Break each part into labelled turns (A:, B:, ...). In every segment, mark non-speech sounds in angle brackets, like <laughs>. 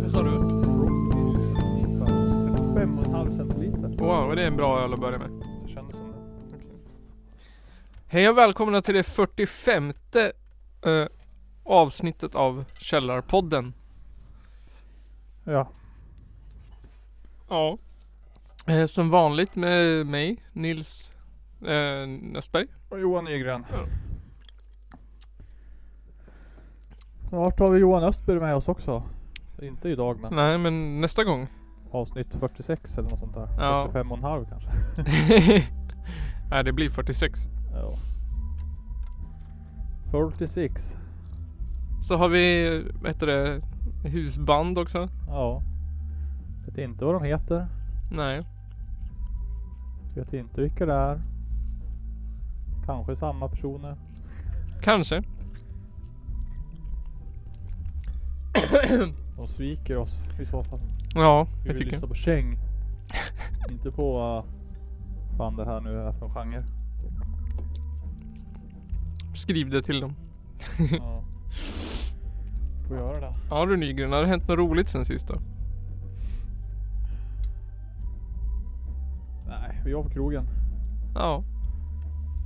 A: Vad sa du?
B: Fem och en halv centiliter.
A: Wow, det är en bra öl att börja med.
B: Det kändes som det.
A: Hej och välkomna till det 45 eh, avsnittet av Källarpodden.
B: Ja.
A: Ja. Eh, som vanligt med mig, Nils eh, Näsberg.
B: Och Johan Nygren.
A: Ja.
B: Snart har vi Johan Östberg med oss också. Inte idag men
A: Nej, men nästa gång.
B: avsnitt 46 eller något sånt där.
A: Ja.
B: 45 och en halv kanske.
A: Nej, det blir 46.
B: Ja. 46.
A: Så har vi, vad heter det, husband också?
B: Ja. Vet inte vad de heter.
A: Nej.
B: Vet inte vilka det är. Kanske samma personer.
A: Kanske.
B: De sviker oss i så fall.
A: Ja,
B: Vi
A: jag
B: vill
A: tycker.
B: lyssna på käng. <laughs> inte på uh, fan det här nu är för
A: <laughs>
B: genre.
A: Skriv det till dem.
B: Ja. Får göra det.
A: Ja du Nygren, har det hänt något roligt sen sist då?
B: Nej, vi var på krogen.
A: Ja.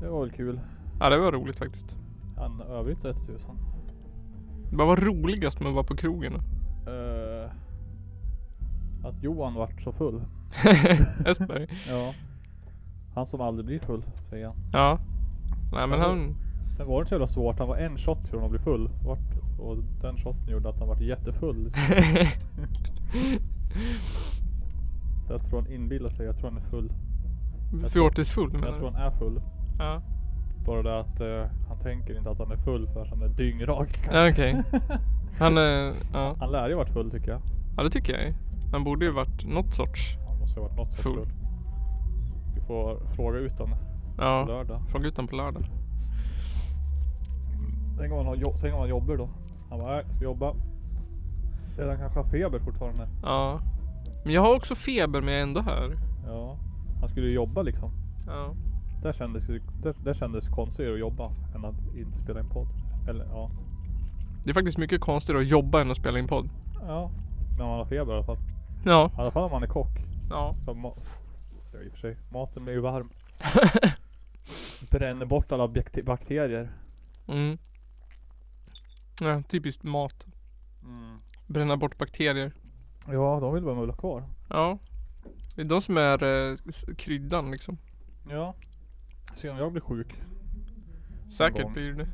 B: Det var väl kul.
A: Ja det var roligt faktiskt.
B: En övrigt 30 000.
A: Vad var roligast med att vara på krogen då?
B: Eh, att Johan vart så
A: <laughs>
B: full.
A: Östberg?
B: Ja. Han som aldrig blir full, säger han.
A: Ja. Nej
B: <laughs>
A: men han...
B: Det var inte så jävla svårt. Han var en shot från att bli full. Vart, och den shotten gjorde att han vart jättefull.
A: <laughs>
B: liksom. Så jag tror han inbillar sig. Jag tror han är full.
A: Fjortisfull menar
B: Jag tror
A: du?
B: han är full.
A: Ja.
B: Bara det att eh, han tänker inte att han är full förrän han är dyngrak
A: Ja,
B: kanske.
A: Okej. Han är... Ja.
B: <laughs> Han lär ju varit full tycker jag.
A: ja det tycker jag. Han borde ju varit något sorts.
B: Han måste ju ha varit något sorts
A: Full.
B: full. Vi får fråga ut honom på
A: Ja.
B: lördag.
A: Fråga ut honom på lördag.
B: Tänk om han, har jo- tänk om han jobbar då. Han bara, nej, ska jobba. Eller han kanske har feber fortfarande.
A: Ja. Men jag har också feber men jag är ändå här.
B: Ja. Han skulle ju jobba liksom.
A: Ja.
B: Där kändes det där, där kändes konstigare att jobba än att inte spela en podd. Eller ja.
A: Det är faktiskt mycket konstigare att jobba än att spela in podd.
B: Ja. Men man har feber i alla fall.
A: Ja.
B: I alla fall om man är kock.
A: Ja.
B: Så ma- ja, i och för sig. Maten blir ju <laughs> varm. Bränner bort alla bakte- bakterier.
A: Mm. Ja, typiskt mat.
B: Mm.
A: Bränna bort bakterier.
B: Ja, de vill bara mulla kvar.
A: Ja. Det är de som är eh, s- kryddan liksom.
B: Ja. Se om jag blir sjuk.
A: Säkert
B: gång.
A: blir det.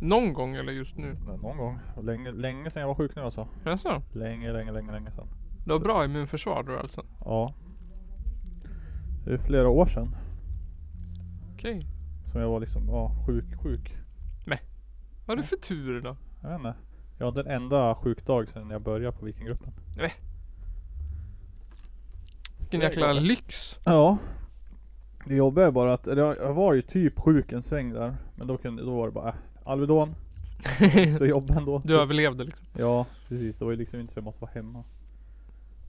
A: Någon gång eller just nu.
B: Men Någon gång. Länge, länge sedan jag var sjuk nu alltså.
A: Jaså?
B: Länge, länge, länge, länge sedan.
A: Du har bra immunförsvar du alltså?
B: Ja. Det är flera år sedan
A: Okej.
B: som jag var liksom, ja, sjuk, sjuk.
A: Vad är det för tur då?
B: Jag vet inte. Jag hade en enda sjukdag sedan jag började på Vikinggruppen.
A: Vilken
B: Det är
A: jäkla
B: gott.
A: lyx.
B: <laughs> Ja. Det jobbiga är bara att, eller jag, jag var ju typ sjuk en sväng där. Men då, kunde, då var det bara, äh, Alvedon. Då jobbar ändå.
A: du överlevde liksom.
B: Ja, precis. Det var ju liksom inte så jag måste vara hemma.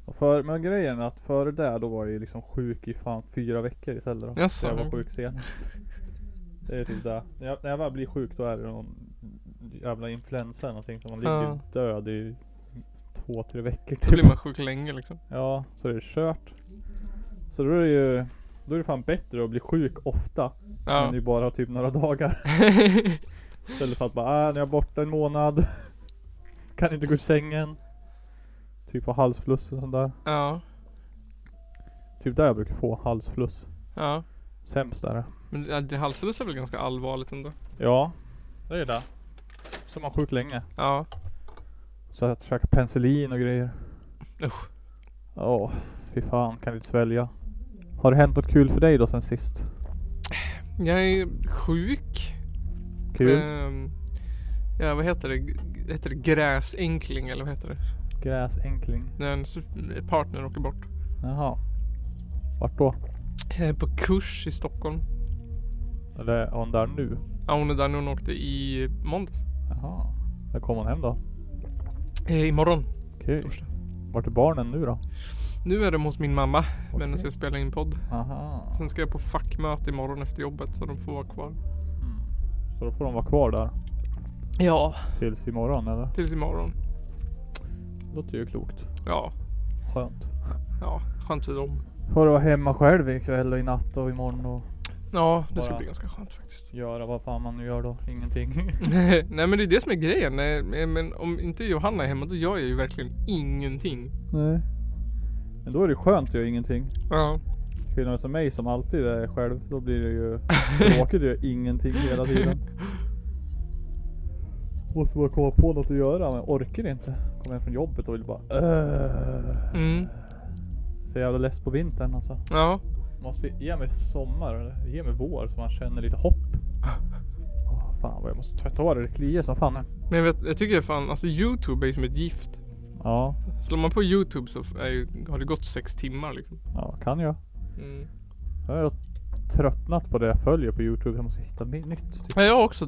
B: Och för, men grejen är att före det då var jag ju liksom sjuk i fan fyra veckor istället då. Så
A: Jaså?
B: jag var sjuk senast. Det är typ det. När jag, när jag väl blir sjuk då är det någon jävla influensa eller någonting. Så man ligger
A: Ja.
B: död i två, tre veckor
A: Då blir
B: typ.
A: man sjuk länge liksom.
B: Ja, så det är kört. Så då är det ju då är det fan bättre att bli sjuk ofta. Än
A: Ja.
B: ju bara typ några
A: <laughs>
B: dagar. Istället för att bara, äh, nu är jag borta en månad. Kan inte gå ur sängen. Typ få halsfluss och sånt där.
A: ja.
B: Typ där jag brukar få halsfluss.
A: Ja.
B: Sämst är det.
A: Men det- det halsfluss är väl ganska allvarligt ändå?
B: Ja, det är det. Som man sjukt länge.
A: Ja.
B: Så att käka penicillin och grejer.
A: Usch.
B: Ja, fy fan kan inte svälja. Har det hänt något kul för dig då sen sist?
A: Jag är sjuk.
B: Kul?
A: Ehm, ja, vad heter det? G- Heter det gräsänkling eller vad heter det?
B: Gräsänkling.
A: När ens partner åker bort.
B: Jaha. Vart då?
A: Jag är på kurs i Stockholm.
B: Eller är hon där nu?
A: Ja, hon är där nu. Hon åkte i måndags.
B: Jaha. När kom hon hem då?
A: Eh, imorgon.
B: Kul.
A: Torsdag.
B: Vart är barnen nu då?
A: Nu är de hos min mamma medan
B: Okej.
A: jag spelar in podd.
B: Aha.
A: Sen ska jag på fackmöte imorgon efter jobbet så de får vara kvar.
B: Mm. Så då får de vara kvar där
A: Ja.
B: tills imorgon eller?
A: Tills imorgon.
B: Låter ju klokt.
A: Ja.
B: Skönt.
A: Ja, skönt för dem.
B: Får du vara hemma själv ikväll och i natt och imorgon och
A: Ja, det ska
B: Bara-
A: bli ganska skönt faktiskt.
B: göra vad fan man nu gör då? <laughs> Ingenting.
A: <laughs> Nej men det är det som är grejen. Nej, Men om inte Johanna är hemma då gör jag ju verkligen ingenting.
B: Nej. Men då är det skönt att göra ingenting.
A: Ja.
B: Skillnaden som mig som alltid är själv, då blir det ju <laughs> tråkigt att göra ingenting hela <laughs> tiden. Måste bara komma på något att göra, men orkar inte. Kommer hem från jobbet och vill bara "Åh."
A: <laughs> Mm.
B: Så jävla less på vintern alltså.
A: Ja.
B: Måste ge mig sommar, eller ge mig vår så man känner lite
A: <laughs>
B: hopp. Åh, fan vad jag måste tvätta håret, det kliar som fan nu.
A: Men jag, vet, jag tycker fan, alltså Youtube är ju som ett gift.
B: Ja,
A: Slår man på Youtube så är ju, har det gått sex timmar liksom.
B: ja kan jag.
A: Mm.
B: Jag har tröttnat på det jag följer på Youtube. Jag måste hitta mi- nytt. Typ.
A: Ja, jag har också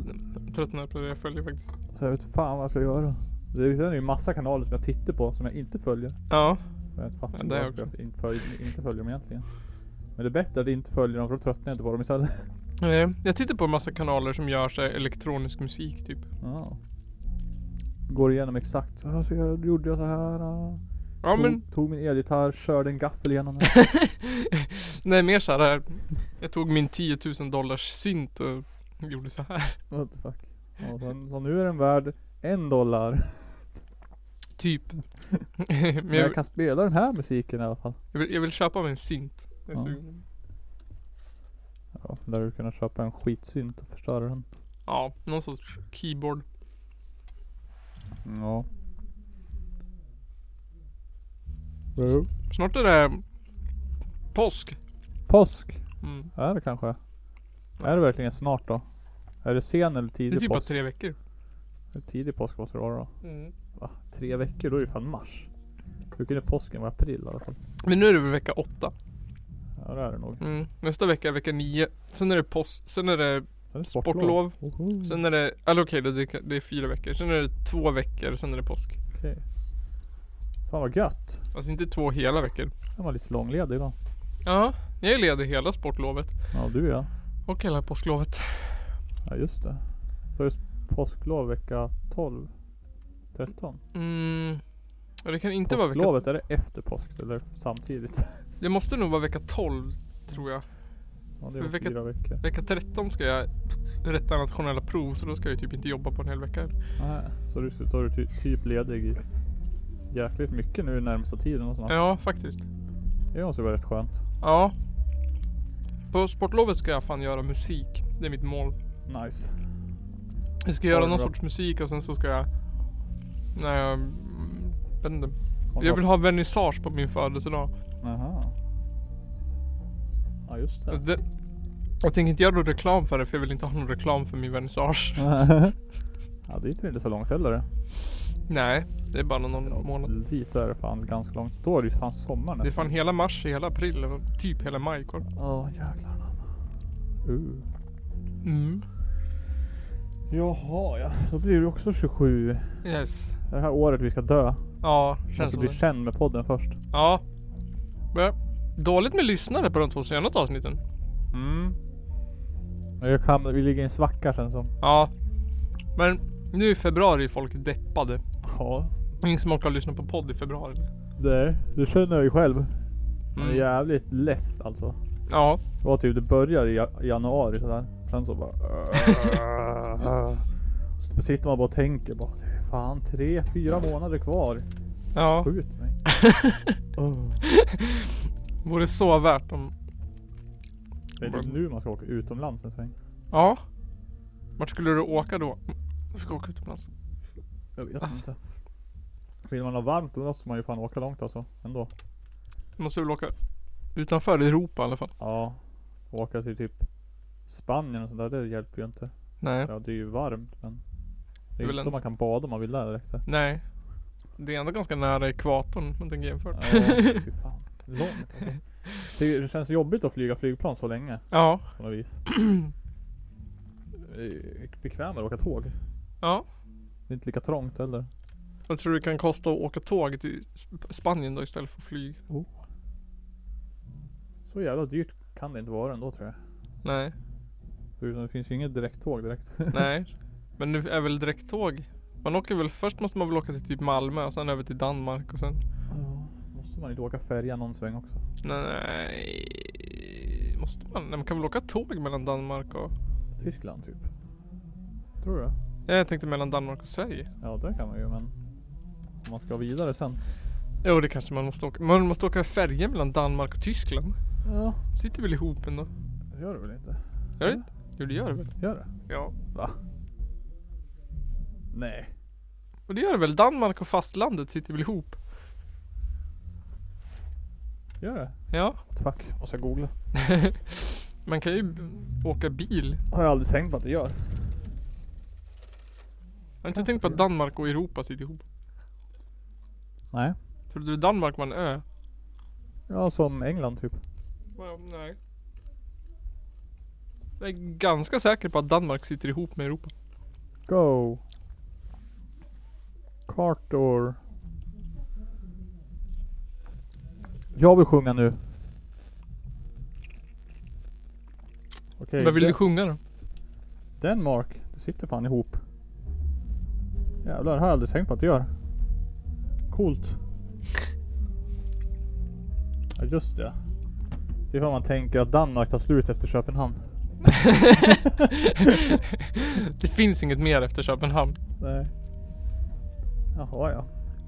A: tröttnat på det jag följer faktiskt.
B: Så jag vet fan vad jag ska göra. Det är- det är ju massa kanaler som jag tittar på som jag inte följer.
A: Ja.
B: Jag vet fattar
A: Ja,
B: inte
A: det är
B: varför jag inte följer, inte följer dem egentligen. Men det är bättre att inte följa dem för då tröttnar jag inte på dem istället. <laughs>
A: Eh, Jag tittar på en massa kanaler som gör sig elektronisk musik typ.
B: Ja. Går igenom exakt. Ja, Så jag gjorde jag så här. ja.
A: Ja men,
B: Tog, tog min elgitarr, körde en gaffel igenom den.
A: nej mer så här. eh, Jag tog min 10 000 dollars synt och gjorde så här. <laughs>
B: What the fuck. Ja, så, så nu är den värd en dollar.
A: Typ. men
B: Men
A: jag,
B: jag kan spela den här musiken i alla fall.
A: jag, vill, jag vill köpa mig en synt. Jag är
B: Ja.
A: sugen.
B: Ja, där du kunna köpa en skitsynt och förstöra den.
A: Ja, någon sorts keyboard.
B: Ja.
A: Snart är det påsk.
B: Påsk
A: Mm.
B: är det kanske. Är det verkligen snart då? Är det sen eller
A: Det är
B: tidig
A: typ bara
B: påsk?
A: tre veckor.
B: Tidig påsk måste det vara då.
A: Mm.
B: Va? Tre veckor? Då är det fan mars. Hur kunde påsken vara april i alla fall?
A: Men nu är det väl vecka åtta.
B: Ja det är det nog.
A: Mm. Nästa vecka är vecka nio. Sen är det påsk. Sen är det
B: Är det
A: sportlov. Mm.
B: Oho.
A: Sen är det, eller okej då det, det är fyra veckor. Sen är det två veckor. Sen är det påsk.
B: Okej. Fan vad gött.
A: Alltså inte två hela veckor.
B: Jag var lite långledig då.
A: Ja, jag är ledig hela sportlovet.
B: Ja du ja.
A: Och hela påsklovet.
B: Ja just det. Så är det påsklov vecka 12? 13?
A: Mm. Ja, Det kan inte vara vecka...
B: Påsklovet, är det efter påsk eller samtidigt? <laughs>
A: Det måste nog vara vecka 12 tror jag.
B: Ja det är väl
A: Vecka-
B: fyra veckor.
A: Vecka 13 ska jag rätta nationella prov så då ska jag typ inte jobba på en hel vecka.
B: Nej. Så du så är du ty- typ ledig i jäkligt mycket nu närmsta tiden och sånt.
A: Ja, faktiskt.
B: Det måste ju vara rätt skönt.
A: Ja. På sportlovet ska jag fan göra musik. Det är mitt mål.
B: Nice.
A: Jag
B: Ja, det
A: ska göra
B: är
A: någon
B: bra.
A: sorts musik och sen så ska jag... Nej, jag... mm, vet inte.
B: Har du
A: Jag vill ha vernissage på min födelsedag.
B: Aha. Ja just det.
A: Det, jag tänker inte göra någon reklam för det för jag vill inte ha någon reklam för min vernissage.
B: <laughs> ja dit är det inte så långt heller.
A: Nej, det är bara någon månad.
B: Dit är det fan ganska långt. Då är det ju fan sommar
A: Det är fan hela mars, hela april, eller typ hela maj kvar.
B: Ja jäklar anamma. Uh.
A: Mm.
B: Jaha ja. Då blir det också 27. Det
A: Yes.
B: är det här året vi ska dö.
A: Ja, känns
B: Måste
A: som
B: bli
A: det.
B: känd med podden först.
A: Ja. Men, dåligt med lyssnare på de två senaste avsnitten.
B: Mm. Jag kan, vi ligger i en svacka sen som.
A: Ja. Men nu i februari är folk deppade.
B: Ja.
A: Ingen som orkar lyssna på podd i februari.
B: Det, det känner jag ju själv. Jag är
A: Mm.
B: jävligt less alltså.
A: Ja.
B: Det var typ det börjar i ja- januari sådär. Sen så bara... så sitter man bara och tänker bara. "Det är Fan tre, fyra månader kvar.
A: Ja.
B: Skjut mig. Åh.
A: Vore så värt om...
B: Det är typ nu man ska åka utomlands en sväng.
A: Ja. Vart skulle du åka då? Jag ska åka utomlands.
B: Jag vet inte. Vill man ha varmt då måste man ju fan åka långt alltså. Ändå.
A: Du måste väl åka utanför Europa i alla fall.
B: Ja. Åka till typ Spanien och sådär. Det hjälper ju inte.
A: Nej.
B: Ja det är ju varmt men. Det
A: Det är
B: är ju
A: väl
B: inte så
A: en-
B: man kan bada om man vill där direkt.
A: Nej. Det är ändå ganska nära ekvatorn man tänker jämfört.
B: Ja, fy fan. Långt alltså. Det det känns jobbigt att flyga flygplan så länge
A: Ja.
B: på något vis. Det är Bekvämare att åka tåg.
A: Ja.
B: Det är inte lika trångt heller.
A: Vad tror du det kan kosta att åka tåg till Sp- Spanien då istället för flyg?
B: Oh. Så jävla dyrt kan det inte vara ändå tror jag.
A: Nej, <laughs>
B: Förutom det finns ju inget direkttåg direkt.
A: nej. Men det är väl direkttåg? Man åker väl, först måste man väl åka till typ Malmö och sen över till Danmark och sen
B: Ja, Måste man inte åka färja någon sväng också?
A: Nej, måste man? Nej, man kan väl åka tåg mellan Danmark och...
B: Tyskland typ. Tror du det?
A: Ja, jag tänkte mellan Danmark och Sverige.
B: Ja det kan man ju men. Om man ska vidare sen.
A: Jo, det kanske man måste åka. Man måste åka färja mellan Danmark och Tyskland.
B: Ja.
A: Sitter väl ihop ändå?
B: Det gör det väl inte?
A: Gör det? Jo, det gör det väl?
B: Gör det?
A: Ja.
B: Nej.
A: Och det gör det väl? Danmark och fastlandet sitter väl ihop?
B: Gör det?
A: Ja.
B: <laughs> Fuck, måste jag googla.
A: man kan ju åka bil.
B: Har jag aldrig tänkt på att det gör.
A: Jag har inte tänkt på att Danmark och Europa sitter ihop.
B: Nej.
A: Tror du Danmark var en ö?
B: Ja som England typ.
A: Ja, nej. Jag är ganska säker på att Danmark sitter ihop med Europa.
B: Go. Cartor. Jag vill sjunga nu. Okej.
A: Vad vill
B: den-
A: du sjunga då?
B: Denmark. Det sitter fan ihop. Jävlar, har jag aldrig tänkt på att det gör. Coolt. Ja just det. Det är för man tänker att Danmark tar slut efter Köpenhamn.
A: det finns inget mer efter Köpenhamn.
B: Nej. Jaha ja.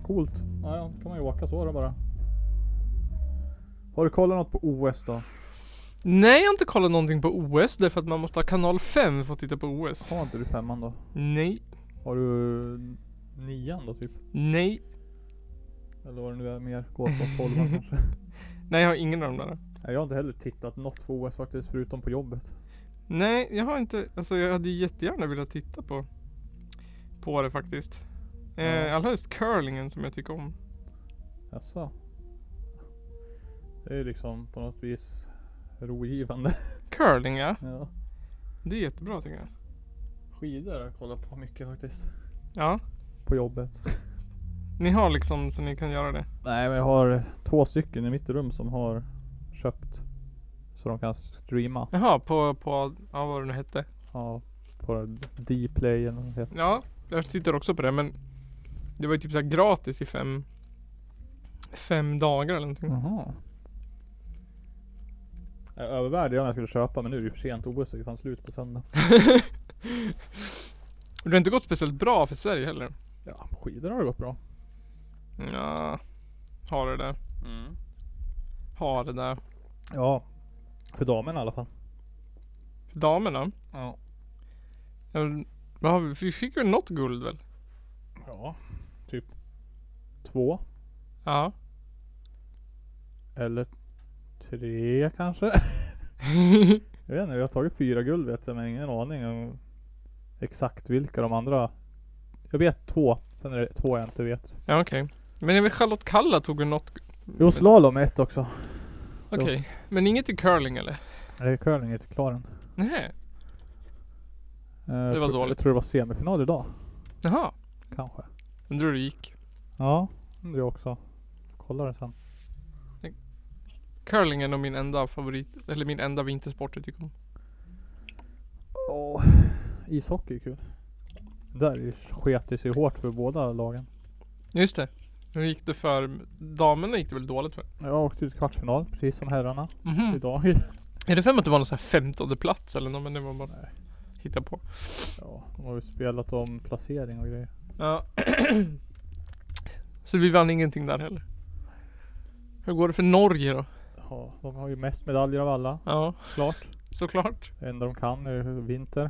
B: Coolt. Ja, ja, då kan man ju åka så då bara. Har du kollat något på OS då?
A: Nej, jag har inte kollat någonting på OS därför att man måste ha kanal 5 för att titta på OS.
B: Har inte du femman då?
A: Nej,
B: Har du nian då typ?
A: nej,
B: Eller vad det nu är mer? Går på tolvan kanske?
A: nej jag har ingen av dem där.
B: Nej, jag har inte heller tittat något på OS faktiskt förutom på jobbet.
A: Nej, jag har inte, alltså jag hade jättegärna velat titta på, på det faktiskt.
B: Ja.
A: Eh, allra helst curlingen som jag tycker om.
B: Jaså? Det är ju liksom på något vis rogivande.
A: Curling ja,
B: <laughs> Ja.
A: det är jättebra tycker jag.
B: Skidor har jag kollat på mycket faktiskt.
A: Ja,
B: På jobbet.
A: ni har liksom så ni kan göra det.
B: Nej men jag har två stycken i mitt rum som har köpt. Så de kan streama.
A: Jaha, på, på, ja vad det nu hette.
B: Ja, på Dplay eller vad det heter.
A: Ja, jag sitter också på det men det var ju typ så här gratis i fem, fem dagar eller någonting.
B: Jaha. Jag övervägde jag om jag skulle köpa men nu är det ju för sent. OS är ju fan slut på söndag.
A: Och Det har inte gått speciellt bra för Sverige heller.
B: Ja, på skidor har det gått bra.
A: Ja, har det där. Har det där.
B: Ja. För damerna i alla fall.
A: För damerna.
B: Ja.
A: ja, men vad har vi? vi fick väl något guld väl?
B: Ja. Typ. Två.
A: Ja.
B: Eller tre kanske? <laughs> jag vet inte, vi har tagit fyra guld vet jag men ingen aning om exakt vilka de andra Jag vet två, sen är det två jag inte vet.
A: Ja okej. Men det är väl Charlotte Kalla tog väl något?
B: Jo slalom är ett också.
A: Okej. Men inget i curling eller?
B: Det är curling är inte klar än.
A: Nej.
B: Eh,
A: Det var
B: jag tror-
A: dåligt.
B: Jag tror det var semifinal idag.
A: Jaha.
B: Kanske.
A: Undrar hur det gick.
B: Ja, det också. Kolla det sen.
A: Curling är nog min enda favorit, eller min enda vintersport jag tycker om.
B: Oh. Ishockey är kul. Där är ju- sket det sig hårt för båda lagen.
A: Just det. Hur gick det för damerna gick det väl dåligt för?
B: Jag åkte ut i kvartsfinal, precis som herrarna.
A: Mhm.
B: Idag.
A: Är det för mig att det var någon sån här femtonde plats eller något men det var bara hitta på.
B: <laughs> Ja, de har ju spelat om placering och grejer.
A: Ja. <clears throat> Så vi vann ingenting där heller. Hur går det för Norge då?
B: Ja, de har ju mest medaljer av alla,
A: Ja,
B: klart.
A: såklart.
B: Det enda de kan är vinter.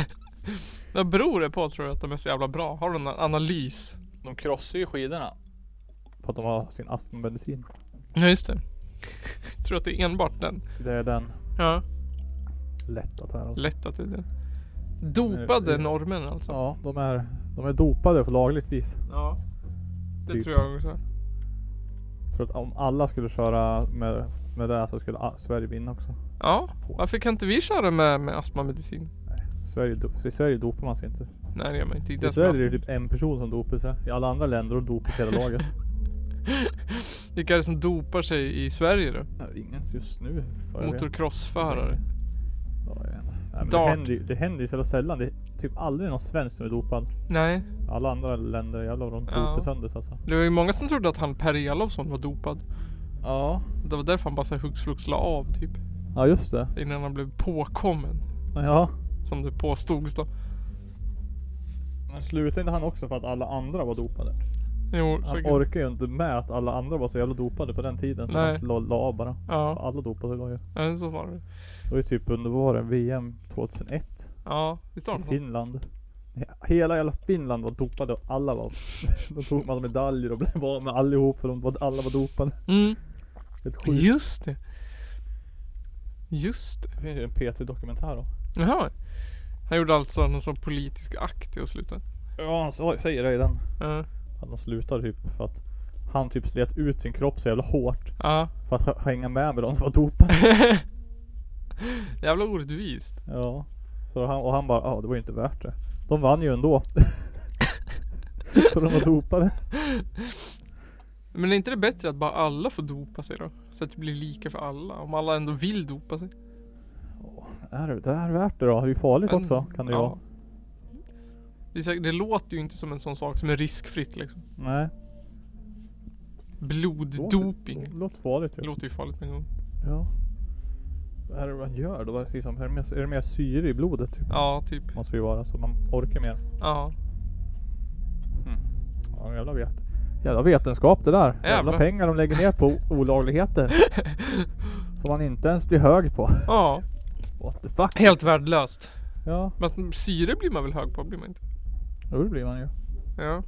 A: <laughs> Vad beror det på tror du att de är så jävla bra? Har du någon analys?
B: De krossar ju skidorna. För att de har sin astmamedicin.
A: Ja just det. Jag <laughs> tror att det är enbart den.
B: Det är den
A: Ja,
B: lätta terrorn.
A: lätt att det är den. Dopade norrmän alltså.
B: Ja, de är, de är dopade på lagligt vis.
A: Ja. Det
B: Typ.
A: tror jag också.
B: Jag tror att om alla skulle köra med, med det här så skulle a- Sverige vinna också.
A: Ja, varför kan inte vi köra med, med astmamedicin?
B: Sverige, do- I Sverige dopar man sig inte.
A: Nej det gör man inte. inte
B: I
A: ens med
B: <laughs> Sverige är det typ en person som dopar sig. I alla andra länder då dopas hela laget.
A: Vilka är det som dopar sig i Sverige då?
B: Ja, Ingen just nu. vad jag vet.
A: Motocrossförare.
B: Ja, jag vet. Nej, men det,
A: Dart.
B: händer, ju- det händer ju så sällan. Det är typ aldrig någon svensk som är dopad.
A: Nej,
B: Alla andra länder jävlar vad de
A: Ja.
B: dopar sönder sig alltså.
A: det var ju många som trodde att han Per Elofsson var dopad.
B: Ja.
A: Det var därför han bara så här hux flux la av typ.
B: Ja just det.
A: Innan han blev påkommen.
B: Ja.
A: Som det påstods då.
B: Men slutade inte han också för att alla andra var dopade?
A: Jo,
B: Han
A: säkert.
B: orkar ju inte med att alla andra var så jävla dopade på den tiden. Så
A: Nej.
B: han la, la av bara.
A: Ja,
B: Alla dopade la ju.
A: ja, så var det.
B: Det var ju typ under våren VM 2001
A: Ja, visst har
B: i
A: han det?
B: Finland. Hela jävla Finland var dopade och alla var <laughs> De tog massa medaljer och blev av med allihop för de var, alla var dopade.
A: Mm,
B: Helt sjukt.
A: just det. Just det.
B: Det finns ju en P3 dokumentär då.
A: Jaha. Han gjorde alltså någon sån politisk akt i att sluta.
B: Ja han sa- säger det i den.
A: Ja,
B: Att han slutade typ för att han typ slet ut sin kropp så jävla hårt.
A: ja. <laughs>
B: För att h- hänga med med de som var dopade.
A: Jävla orättvist.
B: Ja. Så han, och han bara, ja det var ju inte värt det. De vann ju ändå. <laughs> för de var dopade.
A: Men är inte det bättre att bara alla får dopa sig då? Så att det blir lika för alla. Om alla ändå vill dopa sig.
B: Är det, det är värt det då? Det är ju farligt
A: Men-
B: också kan det ju vara.
A: Det, är säkert, det låter ju inte som en sån sak som är riskfritt liksom.
B: Nej.
A: Bloddoping.
B: Låter, låter farligt
A: Det
B: ju.
A: låter ju farligt med en gång.
B: Ja. Vad är det man gör då? Vad är det Liksom, är, det mer, är det mer syre i blodet? Typ?
A: Ja, typ.
B: Måste ju vara så man orkar mer.
A: Ja.
B: Ja, jävla vet. Jävla vetenskap det där. Jävla,
A: Jävlar.
B: pengar de lägger ner på o- <laughs> olagligheter. som man inte ens blir hög på.
A: Ja.
B: What the fuck?
A: Helt värdelöst.
B: Ja,
A: Men syre blir man väl hög på? Blir man inte?
B: jo det blir man ju.
A: Ja.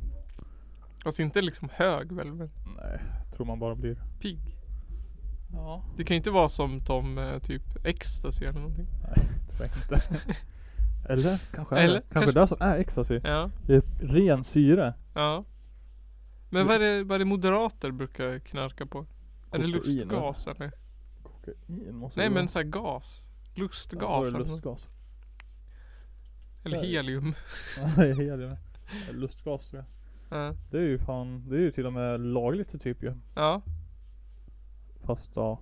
A: Alltså inte liksom hög väl, men
B: Nej, tror man bara blir.
A: pigg.
B: Ja.
A: Det kan ju inte vara som de eh, typ ecstasy eller någonting.
B: Tror jag <laughs> inte. Eller? Kanske
A: Eller?
B: Eller? Kanske,
A: Kanske.
B: det som är ecstasy.
A: Ja.
B: Det är ren syre.
A: Ja. Men vad är det, vad är det moderater brukar knarka på? Är det
B: Kokain,
A: lustgas eller?
B: Kokain måste
A: Nej
B: det
A: men
B: vara.
A: så här gas. Lustgas
B: Ja, då är det
A: eller, något.
B: <laughs> lustgas.
A: eller
B: Nej.
A: helium.
B: Nej, helium. Lustgas tror jag.
A: Ja.
B: Det är ju fan, det är ju till och med lagligt typ ju.
A: ja.
B: Fast ja.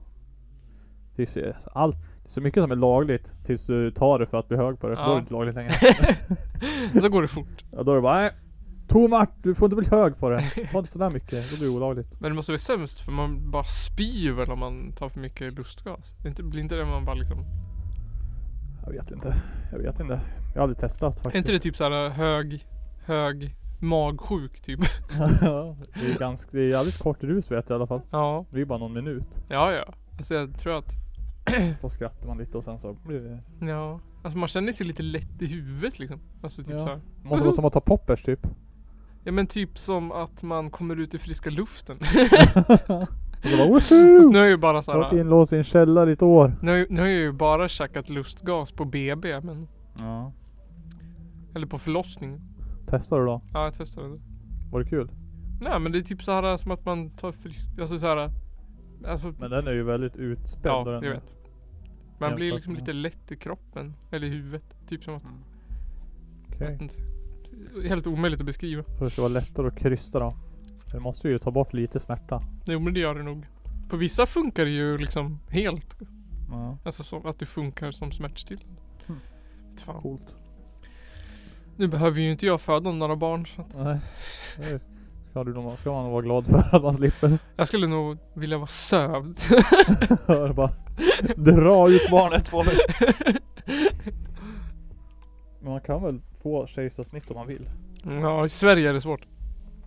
B: Det är så- allt, det är så mycket som är lagligt tills du tar det för att bli hög på det.
A: Ja.
B: Då är det inte lagligt längre.
A: Då går det fort.
B: ja, då är det bara nej. Tomart, du får inte bli hög på det. Ta inte sådär mycket, då blir det olagligt.
A: Men det måste vara sämst för man bara spyr väl om man tar för mycket lustgas. Det är inte- blir inte det man bara liksom.
B: Jag vet inte. Jag vet inte. Jag har aldrig testat
A: Är
B: faktiskt.
A: inte det typ så här hög, hög
B: <laughs>
A: magsjuk typ?
B: <laughs> Ja, det är ganska, det är jävligt kort rus vet jag i alla fall.
A: Ja.
B: Det är bara någon minut.
A: Ja ja. Alltså jag tror att.
B: Då skrattar man lite och sen så blir det...
A: Ja. Alltså man känner sig lite lätt i huvudet liksom. Alltså typ
B: Ja.
A: så här.
B: Måste vara som att ta poppers typ.
A: Ja men typ som att man kommer ut i
B: <laughs>
A: friska luften.
B: Och så bara
A: Fast
B: woho!
A: nu är jag ju bara
B: Jag har varit
A: såhär.
B: inlåst i en källare i ett år.
A: Nu, har ju- nu har jag ju bara käkat lustgas på BB men.
B: Ja.
A: Eller på förlossning.
B: Testar du då?
A: Ja jag testade det.
B: Var det kul?
A: Nej men det är typ så här som att man tar frisk, alltså så här. Alltså.
B: Men den är ju väldigt utspänd. och
A: ja
B: den,
A: jag vet. Man blir
B: Jämfört
A: liksom
B: med-
A: lite lätt i kroppen. Eller i huvudet. Typ som att.
B: Okej.
A: vet inte. Helt omöjligt att beskriva.
B: Så det ska vara lättare att krysta då. Det måste ju ta bort lite smärta.
A: Jo men det gör det nog. På vissa funkar det ju liksom helt.
B: Ja.
A: Alltså som att det funkar som smärtstillande.
B: Mm.
A: Vet Fan.
B: Coolt.
A: Nu behöver ju inte jag föda några barn. Så att
B: Nej. Det är- Ska, du, nog- ska man nog vara glad för att man slipper. <laughs>
A: jag skulle nog vilja vara sövd.
B: Hör bara. Dra ut barnet på mig. Men man kan väl få kejsarsnitt om man vill?
A: Mm, ja, i Sverige är det svårt.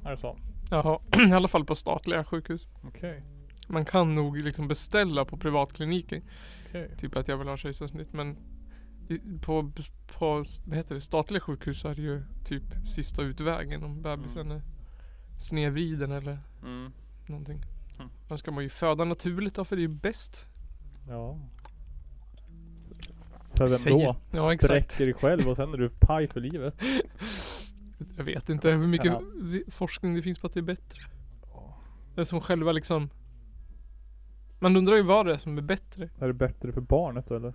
B: Är det så?
A: Jaha, <clears throat> i alla fall på statliga sjukhus.
B: Okej.
A: Man kan nog liksom beställa på privatkliniker.
B: Okej.
A: Typ att jag vill ha kejsarsnitt. Men i, på, på vad heter det, statliga sjukhus så är det ju typ sista utvägen om bebisen är snedvriden eller
B: Mm.
A: någonting.
B: Mm.
A: Då ska man ju föda naturligt då, för det är ju bäst.
B: Ja. För vem
A: Säger-
B: då?
A: Ja, exakt.
B: Spräcker dig själv och sen är du paj för livet.
A: Jag vet inte hur mycket
B: Ja.
A: vi- forskning det finns på att det är bättre. Det är som själva liksom Man undrar ju vad det är som är bättre.
B: Är det bättre för barnet då eller?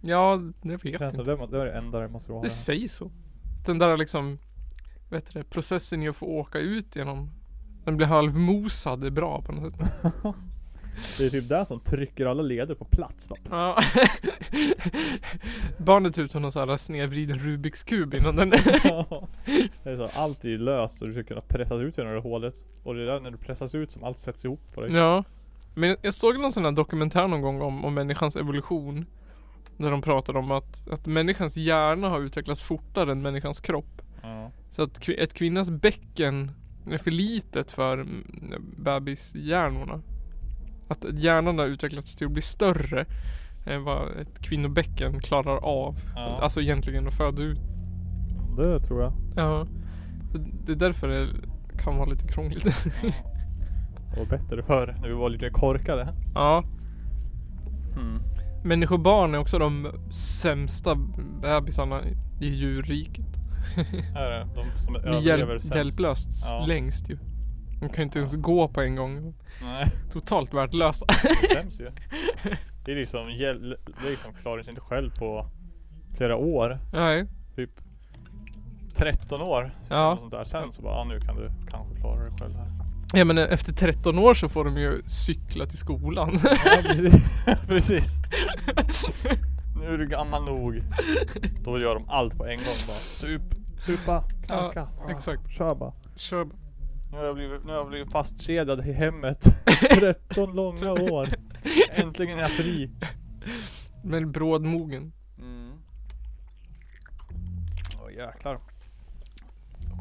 A: Ja, jag
B: Det
A: vet
B: känns som
A: inte.
B: det, det är det enda det måste vara.
A: Det sägs så. Den där liksom, vad heter det, processen i att få åka ut genom Den blir halvmosad är bra på något sätt.
B: Det är typ där som trycker alla leder på plats.
A: <laughs>
B: Va?
A: Ja. Barnet ser ut som någon sån här snedvriden Rubiks kub innan den...
B: det är så, allt är ju löst och du ska kunna pressas ut genom det hålet. Och det är där när du pressas ut som allt sätts ihop på dig.
A: Ja. Men jag såg någon sån här dokumentär någon gång om, om människans evolution. Där de pratade om att, att människans hjärna har utvecklats fortare än människans kropp.
B: Ja.
A: Så att kvi- ett kvinnas bäcken är för litet för mm, bebishjärnorna. Att hjärnan har utvecklats till att bli större än vad ett kvinnobäcken klarar av.
B: Ja.
A: Alltså egentligen att föda ut. Alltså-
B: Det tror jag.
A: Ja. Det är därför det kan vara lite krångligt. <laughs>
B: Det var bättre förr när vi var lite korkade.
A: ja. Mm. Människobarn är också de sämsta bebisarna i djurriket.
B: Här är de som
A: Blir
B: överlever
A: hjälp,
B: sämst.
A: hjälplöst s-
B: Ja.
A: längst ju. De kan ju inte ens gå på en gång.
B: Nej,
A: Totalt värdelösa. <laughs>
B: det sämst ju. Det är liksom, hjäl- det är liksom klarar sig inte själv på flera år.
A: Nej.
B: Typ 13 år.
A: Ja.
B: Och sånt där. Sen så bara, ja nu kan du kanske klara dig själv här.
A: ja men eh, efter 13 år så får de ju cykla till skolan. <laughs>
B: Ja, precis. <laughs> precis. Nu är du gammal nog. Då gör de allt på en gång bara. Sup, supa, knarka.
A: exakt.
B: Kör bara.
A: Kör
B: Nu har jag blivit, nu har jag blivit fastkedjad i hemmet.
A: <laughs>
B: 13 långa år. Äntligen är jag fri.
A: Men brådmogen.
B: Mm. Åh jäklar.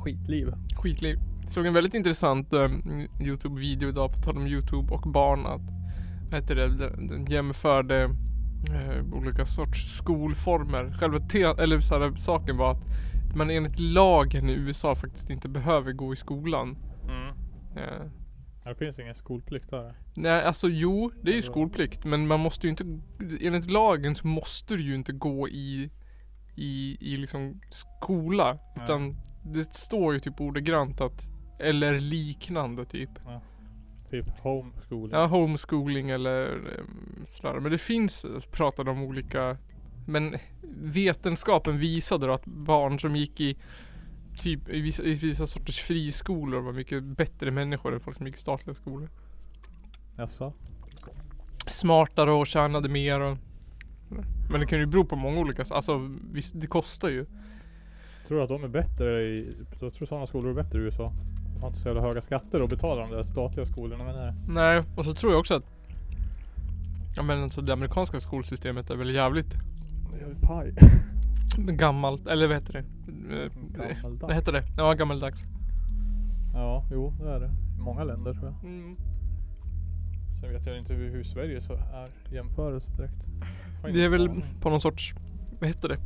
B: Skitliv.
A: Skitliv. Såg en väldigt intressant eh, Youtube-video idag på tal om Youtube och barn att vad heter det, den den jämförde eh, olika sorts skolformer. Själva te- eller så här, saken var att man enligt lagen i USA faktiskt inte behöver gå i skolan.
B: Mm.
A: Eh,
B: Det finns ingen skolplikt där.
A: nej, alltså jo, det är ju
B: Ja, bra.
A: skolplikt men man måste ju inte, enligt lagen så måste du ju inte gå i, i, i liksom skola.
B: Nej.
A: Utan det står ju typ ordagrant att, eller liknande typ.
B: Typ homeschooling.
A: Ja, homeschooling eller eh, sådär. Men det finns, alltså, pratade om olika, men vetenskapen visade då att barn som gick i typ i vissa, i vissa sorters friskolor var mycket bättre människor än folk som gick i statliga skolor.
B: Jaså?
A: Smartare och tjänade mer och sådär. men det kan ju bero på många olika, alltså visst, det kostar ju.
B: Tror du att de är bättre i... Jag tror sådana skolor är bättre i USA. De har inte så jävla höga skatter och betalar de där statliga skolorna eh, med det.
A: Nej, och så tror jag också att, ja men alltså det amerikanska skolsystemet är väl jävligt
B: Det är ju paj.
A: gammalt, eller vad heter det? Eh, Vad
B: <laughs> Gammaldags.
A: heter det? Ja, gammaldags.
B: Ja, jo det är det. I många länder tror jag.
A: Mm.
B: Sen vet jag inte hur, hur Sverige så är i jämförelse direkt. Har
A: Det är
B: ingen
A: väl
B: aning.
A: på någon sorts, vad heter det?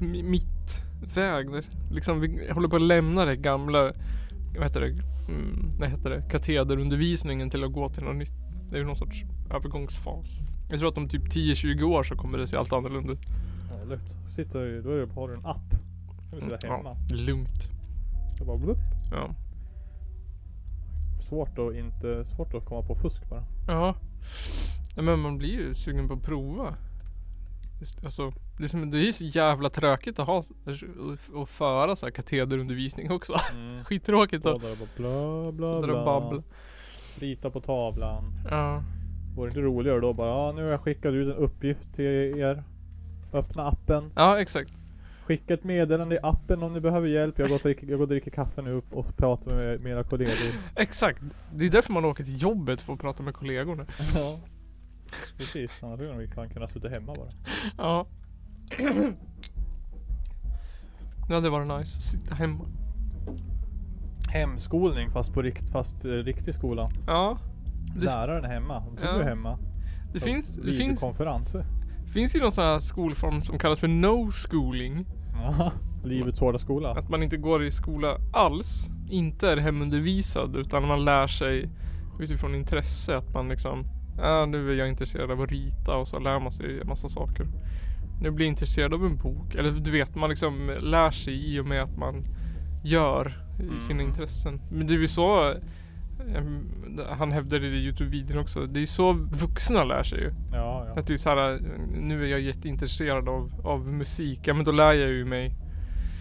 A: Mi- Mittväg. där. Liksom vi håller på att lämna det gamla, vad heter det? Mm, vad heter det? Katederundervisningen till att gå till något nytt. Det är ju någon sorts övergångsfas. Jag tror att om typ 10-20 år så kommer det se allt annorlunda ut.
B: Vanligt. Sitter ju, då är det, har du en app. Då kan du sitta
A: Mm,
B: hemma.
A: Lugnt.
B: Det är bara blupp.
A: Ja.
B: Svårt att inte, svårt att komma på fusk bara.
A: Ja. Nej, Men man blir ju sugen på att prova. Just- Alltså, det är, som, det är ju så jävla tråkigt att ha och föra så här katederundervisning också. <laughs>
B: Mm.
A: Skittråkigt att
B: Där och bara bla bla
A: sitta och
B: bla.
A: babbla.
B: Rita på tavlan.
A: Ja.
B: Vore det inte roligare då bara, ja nu har jag skickat ut en uppgift till er. Öppna appen.
A: Ja exakt.
B: Skicka ett meddelande i appen om ni behöver hjälp. Jag går och dricker, jag går och dricker kaffe nu upp och pratar med mina kollegor.
A: <laughs> Exakt. Det är därför man åker till jobbet för att prata med kollegorna.
B: ja. Precis, annars skulle vi fan kunna sitta hemma bara.
A: Ja. Ja det var nice. Sitta hemma.
B: Hemskolning fast på rikt, fast eh, riktig skola.
A: Ja. Det-
B: Läraren är hemma. Du
A: Ja.
B: är hemma.
A: Det
B: Så
A: finns, det finns,
B: Videokonferenser.
A: finns ju någon sån här skolform som kallas för no schooling.
B: Ja. Livets hårda skola.
A: Att man inte går i skola alls. Inte är hemundervisad utan man lär sig utifrån intresse. Att man liksom, ja nu är jag intresserad av att rita och så lär man sig en massa saker. Nu blir jag intresserad av en bok. Eller du vet, man liksom lär sig i och med att man gör i sina
B: Mm.
A: intressen. Men det är ju så, em, han hävdade det i Youtube-videon också, det är ju så vuxna lär sig ju.
B: Ja, ja.
A: Att det är så här, nu är jag jätteintresserad av, av musik, ja men då lär jag ju mig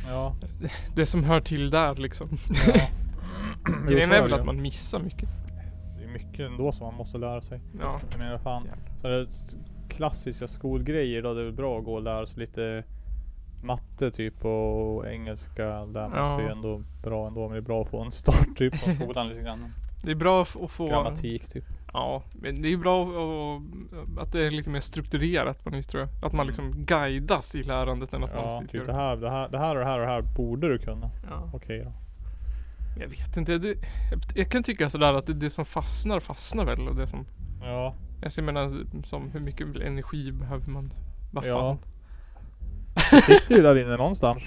B: ja.
A: det som hör till där liksom.
B: ja. Jo,
A: <laughs> Grejen
B: så
A: är
B: är
A: väl
B: det
A: att
B: ju.
A: man missar mycket.
B: Det är mycket ändå som man måste lära sig.
A: Ja.
B: Jag menar fan.
A: Jävlar.
B: Så det klassiska skolgrejer då. Det är väl bra att gå och lära sig lite matte typ och engelska. Där man
A: Ja.
B: sig ändå bra ändå. Men det är bra att få en start typ från skolan lite
A: <laughs>
B: grann.
A: Det är bra f- att få...
B: Grammatik typ.
A: Ja, men det är bra att- att- att det är lite mer strukturerat på något vis tror jag. Att
B: Mm.
A: man liksom guidas i lärandet än att
B: Ja,
A: man
B: typ
A: sitter
B: det
A: och...
B: här, det här, det här och det här och det här borde du kunna.
A: Ja.
B: Okej då.
A: Jag vet inte. Det, jag kan tycka sådär att det, det som fastnar, fastnar väl. Och det som,
B: Ja,
A: alltså, jag menar som hur mycket energi behöver man? Vad fan?
B: Ja. det <laughs> sitter ju där inne någonstans.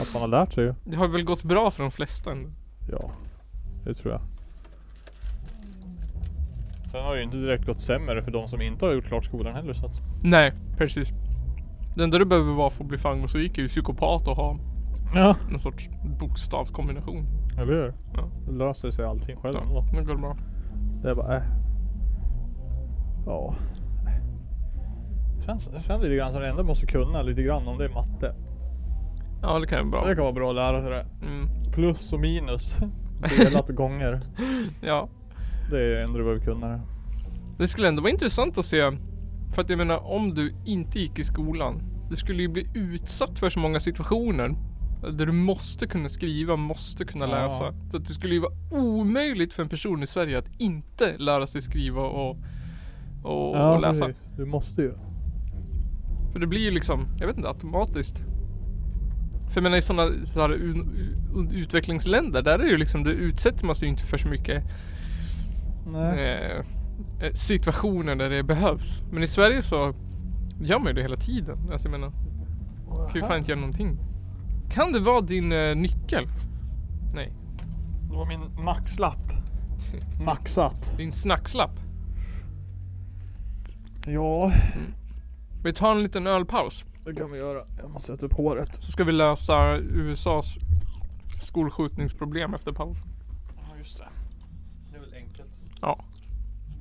B: Att man har lärt sig ju.
A: Det har väl gått bra för de flesta ändå.
B: Ja, det tror jag. Sen har det ju inte direkt gått sämre för de som inte har gjort klart skolan heller så att...
A: Nej, precis. Det enda du behöver vara för att bli framgångsrik är ju psykopat och ha
B: Ja,
A: någon sorts bokstavskombination.
B: eller hur?
A: Ja.
B: Då löser sig allting själv
A: Ja,
B: ändå.
A: det går bra.
B: Det är bara äh. Ja. Känns, det känns lite grann som det enda måste kunna lite grann om det är matte.
A: Ja, det kan ju vara
B: Det
A: bra.
B: kan vara bra att lära sig det.
A: Mm.
B: Plus och <laughs> minus. Delat gånger.
A: Ja.
B: Det är det enda du behöver kunna.
A: Det skulle ändå vara intressant att se. För att jag menar om du inte gick i skolan. Du skulle ju bli utsatt för så många situationer. Där du måste kunna skriva, måste kunna
B: Ja.
A: läsa. Så att det skulle ju vara omöjligt för en person i Sverige att inte lära sig skriva och, och, och läsa.
B: precis. Du måste ju.
A: För det blir ju liksom, jag vet inte, automatiskt. För jag menar i sådana så här, un- u- utvecklingsländer, där är det ju liksom, det utsätter man sig ju inte för så mycket
B: Nej.
A: eh, eh, situationer där det behövs. Men i Sverige så gör man ju det hela tiden. Alltså jag menar, kan ju fan inte göra någonting. Kan det vara din eh, nyckel? Nej,
B: Det var min <laughs> maxlapp. Maxat.
A: din snackslapp.
B: Ja,
A: Vi tar en liten ölpaus.
B: det kan vi göra. Jag måste sätta upp håret.
A: Så ska vi lösa USAs skolskjutningsproblem efter pausen.
B: Ja, just det. Det är väl enkelt.
A: Ja.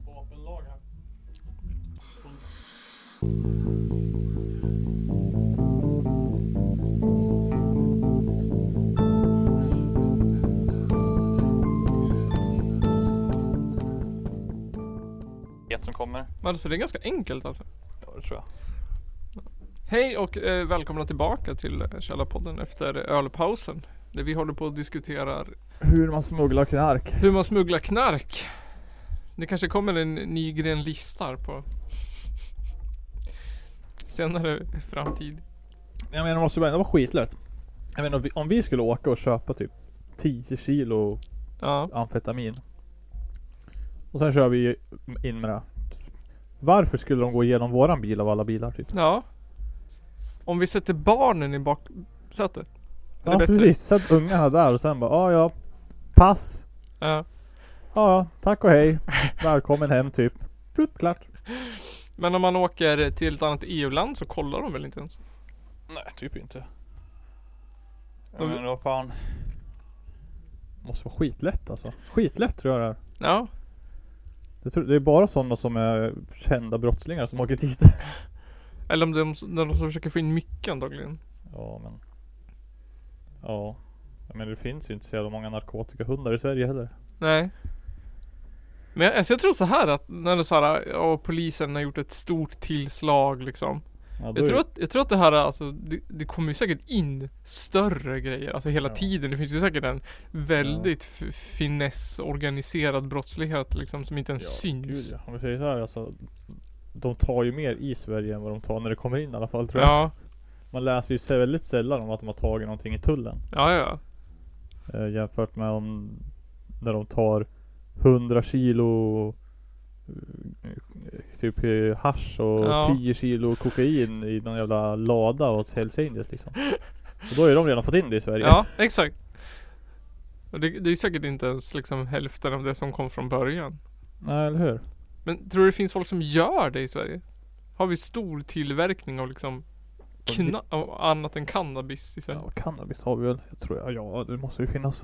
B: Vapenlag här. Vet som kommer.
A: Alltså det är ganska enkelt alltså.
B: Ja, det tror jag.
A: Hej och eh, välkomna tillbaka till eh, Källarpodden efter ölpausen. Där vi håller på och diskuterar
B: Hur man smugglar knark.
A: hur man smugglar knark. Det kanske kommer en ny gren listar på senare framtid.
B: Jag menar, det måste vara, det var skitlätt. Jag menar, om vi- om vi skulle åka och köpa typ 10 kilo
A: Ja,
B: amfetamin. Och sen kör vi in med det. Varför skulle de gå igenom våran bil av alla bilar typ?
A: ja. Om vi sätter barnen i baksätet. Är det
B: Ja
A: bättre?
B: precis, sätt ungarna där och sen bara ja ja. Pass.
A: Ja.
B: Ja ja, tack och hej. Välkommen hem typ. Plupp, klart.
A: Men om man åker till ett annat EU-land så kollar de väl inte ens?
B: Nej, typ inte.
A: Ja, men
B: vad fan. Måste vara skitlätt alltså. Skitlätt tror jag det är.
A: Ja,
B: Det, tror, det är bara sådana som är kända brottslingar som åker dit. <laughs>
A: eller om de, när de försöker få in mycket antagligen.
B: Ja men. Ja. Men det finns ju inte så jävla många narkotikahundar i Sverige heller.
A: Nej. Men jag, alltså jag tror så här att när det är så här, ja, polisen har gjort ett stort tillslag liksom.
B: Ja, då
A: Jag
B: är
A: tror,
B: det-
A: att, jag tror att det här alltså, det, det kommer ju säkert in större grejer, alltså hela
B: Ja.
A: tiden. Det finns ju säkert en väldigt f- finessorganiserad brottslighet liksom som inte ens syns.
B: Gud, ja. Om vi säger så här alltså. De tar ju mer i Sverige än vad de tar när det kommer in i alla fall tror jag.
A: ja.
B: Man läser ju sä- väldigt sällan om att de har tagit någonting i tullen.
A: ja, ja, ja.
B: Eh, jämfört med om när de tar 100 kilo eh, typ eh, hasch och
A: Ja.
B: 10 kilo kokain i någon jävla lada och hälsar in det liksom. Och då har ju de redan fått in det i Sverige.
A: Ja, exakt. Och det, det är säkert inte ens liksom hälften av det som kom från början.
B: Nej, eller hur?
A: Men tror du det finns folk som gör det i Sverige? Har vi stor tillverkning av liksom kna- av annat än cannabis i Sverige?
B: Ja, cannabis har vi väl? Jag tror jag. Ja, det måste ju finnas.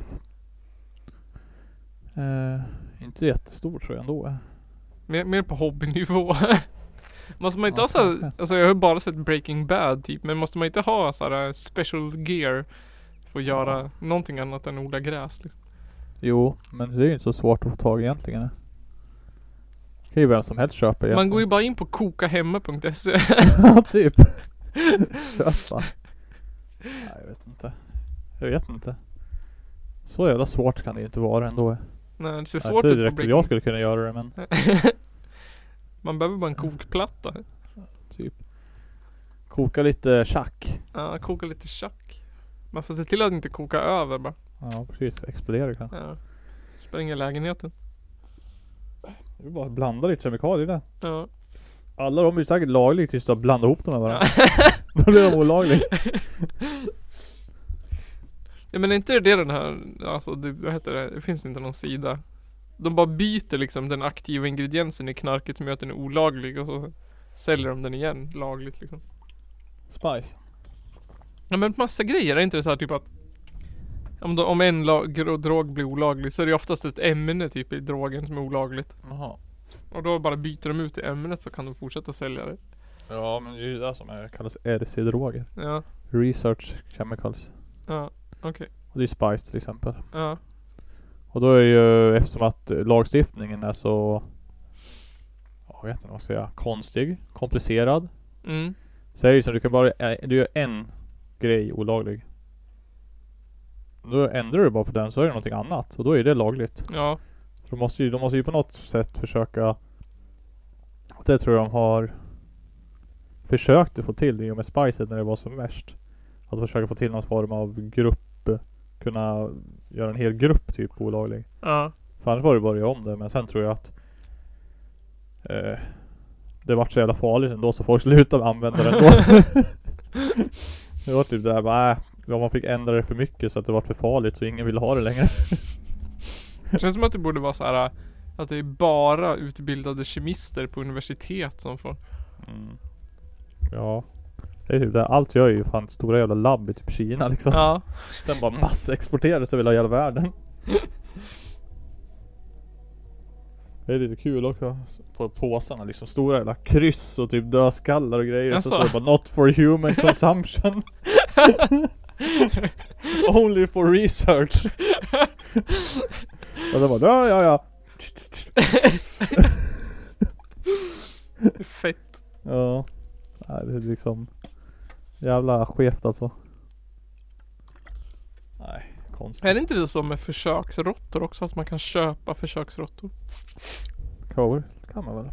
B: Eh, inte jättestor tror jag ändå.
A: Mer, mer på hobbynivå. <laughs> måste man inte
B: Ja, <laughs>
A: ha såhär,
B: kanske.
A: alltså jag har ju bara sett Breaking Bad typ, men måste man inte eh, ha såhär special gear för att göra någonting annat än odla gräs? Liksom?
B: Jo, men det är ju inte så svårt att få tag i egentligen. Det kan ju vem som helst köpa
A: Man
B: egentligen.
A: går ju bara in på <laughs> kokahemma.se.
B: Ja, typ. <laughs> Köpa. Nej, jag vet inte. Jag vet inte. Så jävla svårt kan det ju inte vara ändå.
A: Nej, det ser
B: Det är
A: svårt
B: inte
A: ut på
B: direkt att jag
A: Breaking
B: skulle kunna göra det men
A: <laughs> Man behöver bara en kokplatta.
B: typ. Koka lite tjack.
A: Ja, koka lite tjack. Man får se till att inte koka över bara.
B: Ja precis, explodera kan.
A: Ja. Spränga lägenheten.
B: Det är bara att blanda lite kemikalier där.
A: Ja.
B: Alla de är ju säkert lagligt tills du blandar ihop dem med varandra. <laughs> Då blir de olagliga.
A: ja men är inte det den här, alltså det, vad heter det, det finns inte någon sida. De bara byter liksom den aktiva ingrediensen i knarket som gör att den är olaglig och så säljer de den igen lagligt liksom.
B: Spice.
A: Ja men massa grejer, är inte det så här typ att om, de, om en lag, drog blir olaglig så är det ju oftast ett ämne typ i drogen som är olagligt.
B: Jaha.
A: Och då bara byter de ut det ämnet så kan de fortsätta sälja det.
B: Ja men det är ju det som är, kallas RC-droger.
A: Ja,
B: Research Chemicals.
A: ja, okej.
B: Och det är Spice till exempel.
A: Ja,
B: Och då är det ju eftersom att eh, lagstiftningen är så ja, jag vet inte vad jag ska säga, konstig, komplicerad.
A: mm,
B: Så är det ju så att du kan bara, eh, du gör en grej olaglig. Då ändrar du bara på den så är det någonting annat och då är det lagligt.
A: ja,
B: Så De måste ju, de måste ju på något sätt försöka Det tror jag de har Försökt att få till i och med Spicet när det var som värst Att försöka få till någon form av grupp Kunna göra en hel grupp typ olaglig
A: ja,
B: För annars var det bara att göra om det men sen tror jag att eh, Det vart så jävla farligt ändå så folk slutade använda det ändå Det var typ det där bara äh, ja, man fick ändra det för mycket så att det vart för farligt så ingen ville ha det längre
A: Det känns som att det borde vara så här äh, att det är bara utbildade kemister på universitet som får.
B: Mm. Ja. Det är typ det. Allt gör ju fan stora jävla labb i typ Kina liksom.
A: Ja,
B: Sen bara massexporterades över hela jävla <laughs> världen. Det är lite kul också. På påsarna liksom. Stora jävla kryss och typ dödskallar och grejer.
A: Jaså?
B: Så står det bara Not for human <laughs> consumption. Only for research. och då bara ja ja ja.
A: fett.
B: Ja. Nej, det är liksom jävla skevt alltså. Nej, konstigt.
A: Är det inte det så med försöksråttor också? Att man kan köpa försöksråttor?
B: Kan, kan man väl?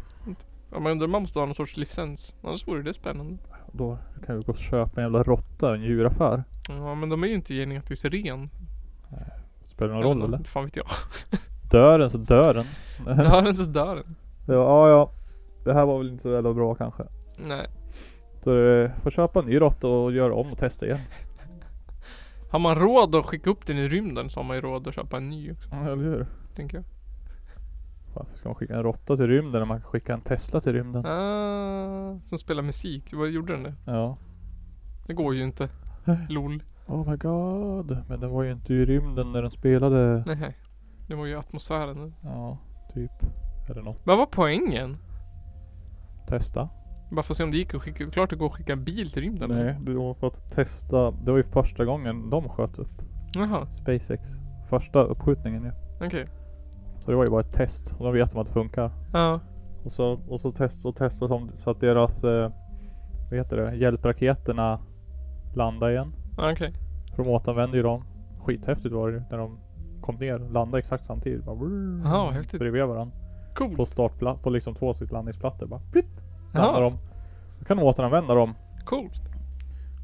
A: Ja, man undrar om man måste ha någon sorts licens. Annars vore det spännande.
B: Då kan vi gå och köpa en jävla råtta i en djuraffär.
A: Ja men de är ju inte genetiskt ren.
B: Spelar det någon roll eller?
A: Fan vet jag. <laughs>
B: Dör den så dör <laughs> den.
A: Dör den så dör den.
B: Det var, ja, ja. Det här var väl inte så jävla bra kanske.
A: Nej.
B: Så eh, får köpa en ny råtta och göra om och testa igen.
A: Har man råd att skicka upp den i rymden så har man ju råd att köpa en ny också,
B: Ja, eller hur?
A: tänker jag.
B: Varför ska man skicka en råtta till rymden när man kan skicka en Tesla till rymden?
A: Ah, som spelar musik. Vad gjorde den det?
B: Ja.
A: Det går ju inte. LOL.
B: Oh my god. Men den var ju inte i rymden när den spelade.
A: Nej. Det var ju atmosfären.
B: Ja, typ. Eller något.
A: Vad var poängen?
B: Testa.
A: Bara för att se om det gick att skicka. Klart det går att skicka en bil till rymden.
B: Nej, det var för att testa. Det var ju första gången de sköt upp
A: Jaha,
B: SpaceX. Första uppskjutningen ju.
A: okej.
B: Så det var ju bara ett test. Och de vet de att det funkar.
A: Ja.
B: Och så, och så test, och testar de så att deras, eh, vad heter det, hjälpraketerna landar igen.
A: Okej.
B: För de återanvänder ju dem. Skithäftigt var det ju när de kom ner. Landade exakt samtidigt. Bara, brrr,
A: Jaha, vad häftigt.
B: Bredvid varandra. På
A: Coolt.
B: startpla- på liksom två stycken landningsplattor. Bara plipp, landar
A: Jaha,
B: de. Då kan de återanvända dem.
A: coolt.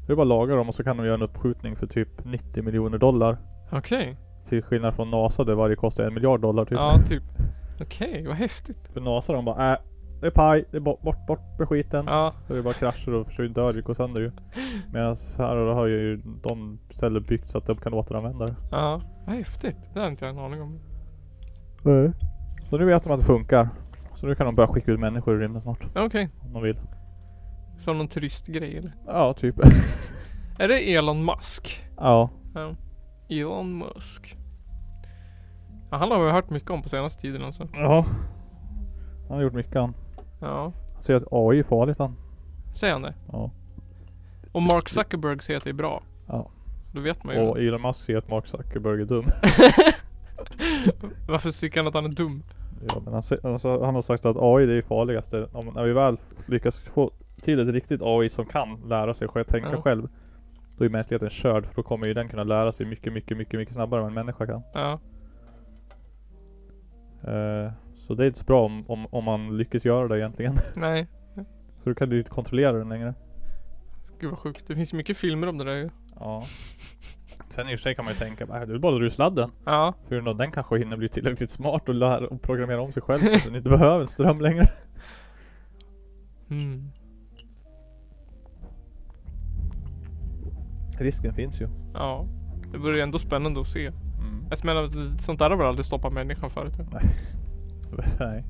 B: Det är bara att laga dem och så kan de göra en uppskjutning för typ 90 miljoner dollar.
A: Okej.
B: Till skillnad från NASA där varje kostar en miljard dollar typ.
A: Ja, typ. Okej, vad häftigt.
B: För NASA de bara äh, det är paj, det är bort, bort, bort med skiten.
A: Ja.
B: Så det bara kraschar och försvinner, dör, det går sönder ju. Medan här och då har ju de ställer byggt så att de kan återanvända det.
A: Ja, vad häftigt. Det hade inte jag en aning om.
B: Nej. Så nu vet de att det funkar. Så nu kan de börja skicka ut människor i rymden snart.
A: Okej.
B: Om de vill.
A: Som någon turistgrej eller?
B: Ja, typ.
A: Är det Elon Musk?
B: ja.
A: Ja. Elon Musk. Ja, han har vi hört mycket om på senaste tiden alltså.
B: Ja. Han har gjort mycket han.
A: Ja.
B: Han säger att AI är farligt han.
A: Säger han det?
B: Ja.
A: Och Mark Zuckerberg säger att det är bra.
B: Ja.
A: Då vet man ju.
B: Och Elon Musk säger att Mark Zuckerberg är dum.
A: Varför tycker han att han är dum?
B: Ja, men han, se- alltså, han har sagt att AI det är farligaste. Om, när vi väl lyckas få till ett riktigt AI som kan lära sig själv, tänka
A: Ja.
B: själv. Då är mänskligheten körd för då kommer ju den kunna lära sig mycket, mycket, mycket, mycket snabbare än en människa kan.
A: Ja.
B: Eh, så det är inte så bra om, om, om man lyckas göra det egentligen. <laughs>
A: Nej.
B: för då kan du ju inte kontrollera den längre.
A: Gud vad sjukt. Det finns ju mycket filmer om det där ju.
B: Ja. Sen i och för sig kan man ju tänka, "Äh, det är bara att dra ur sladden.
A: Ja.
B: För den- den kanske hinner bli tillräckligt smart och lära och programmera om sig själv så att den inte behöver ström längre.
A: Mm.
B: Risken finns ju.
A: Ja. Det vore ju ändå spännande att se.
B: Mm.
A: Jag menar, sånt där har väl aldrig stoppat människan förut? ju.
B: <laughs> Nej,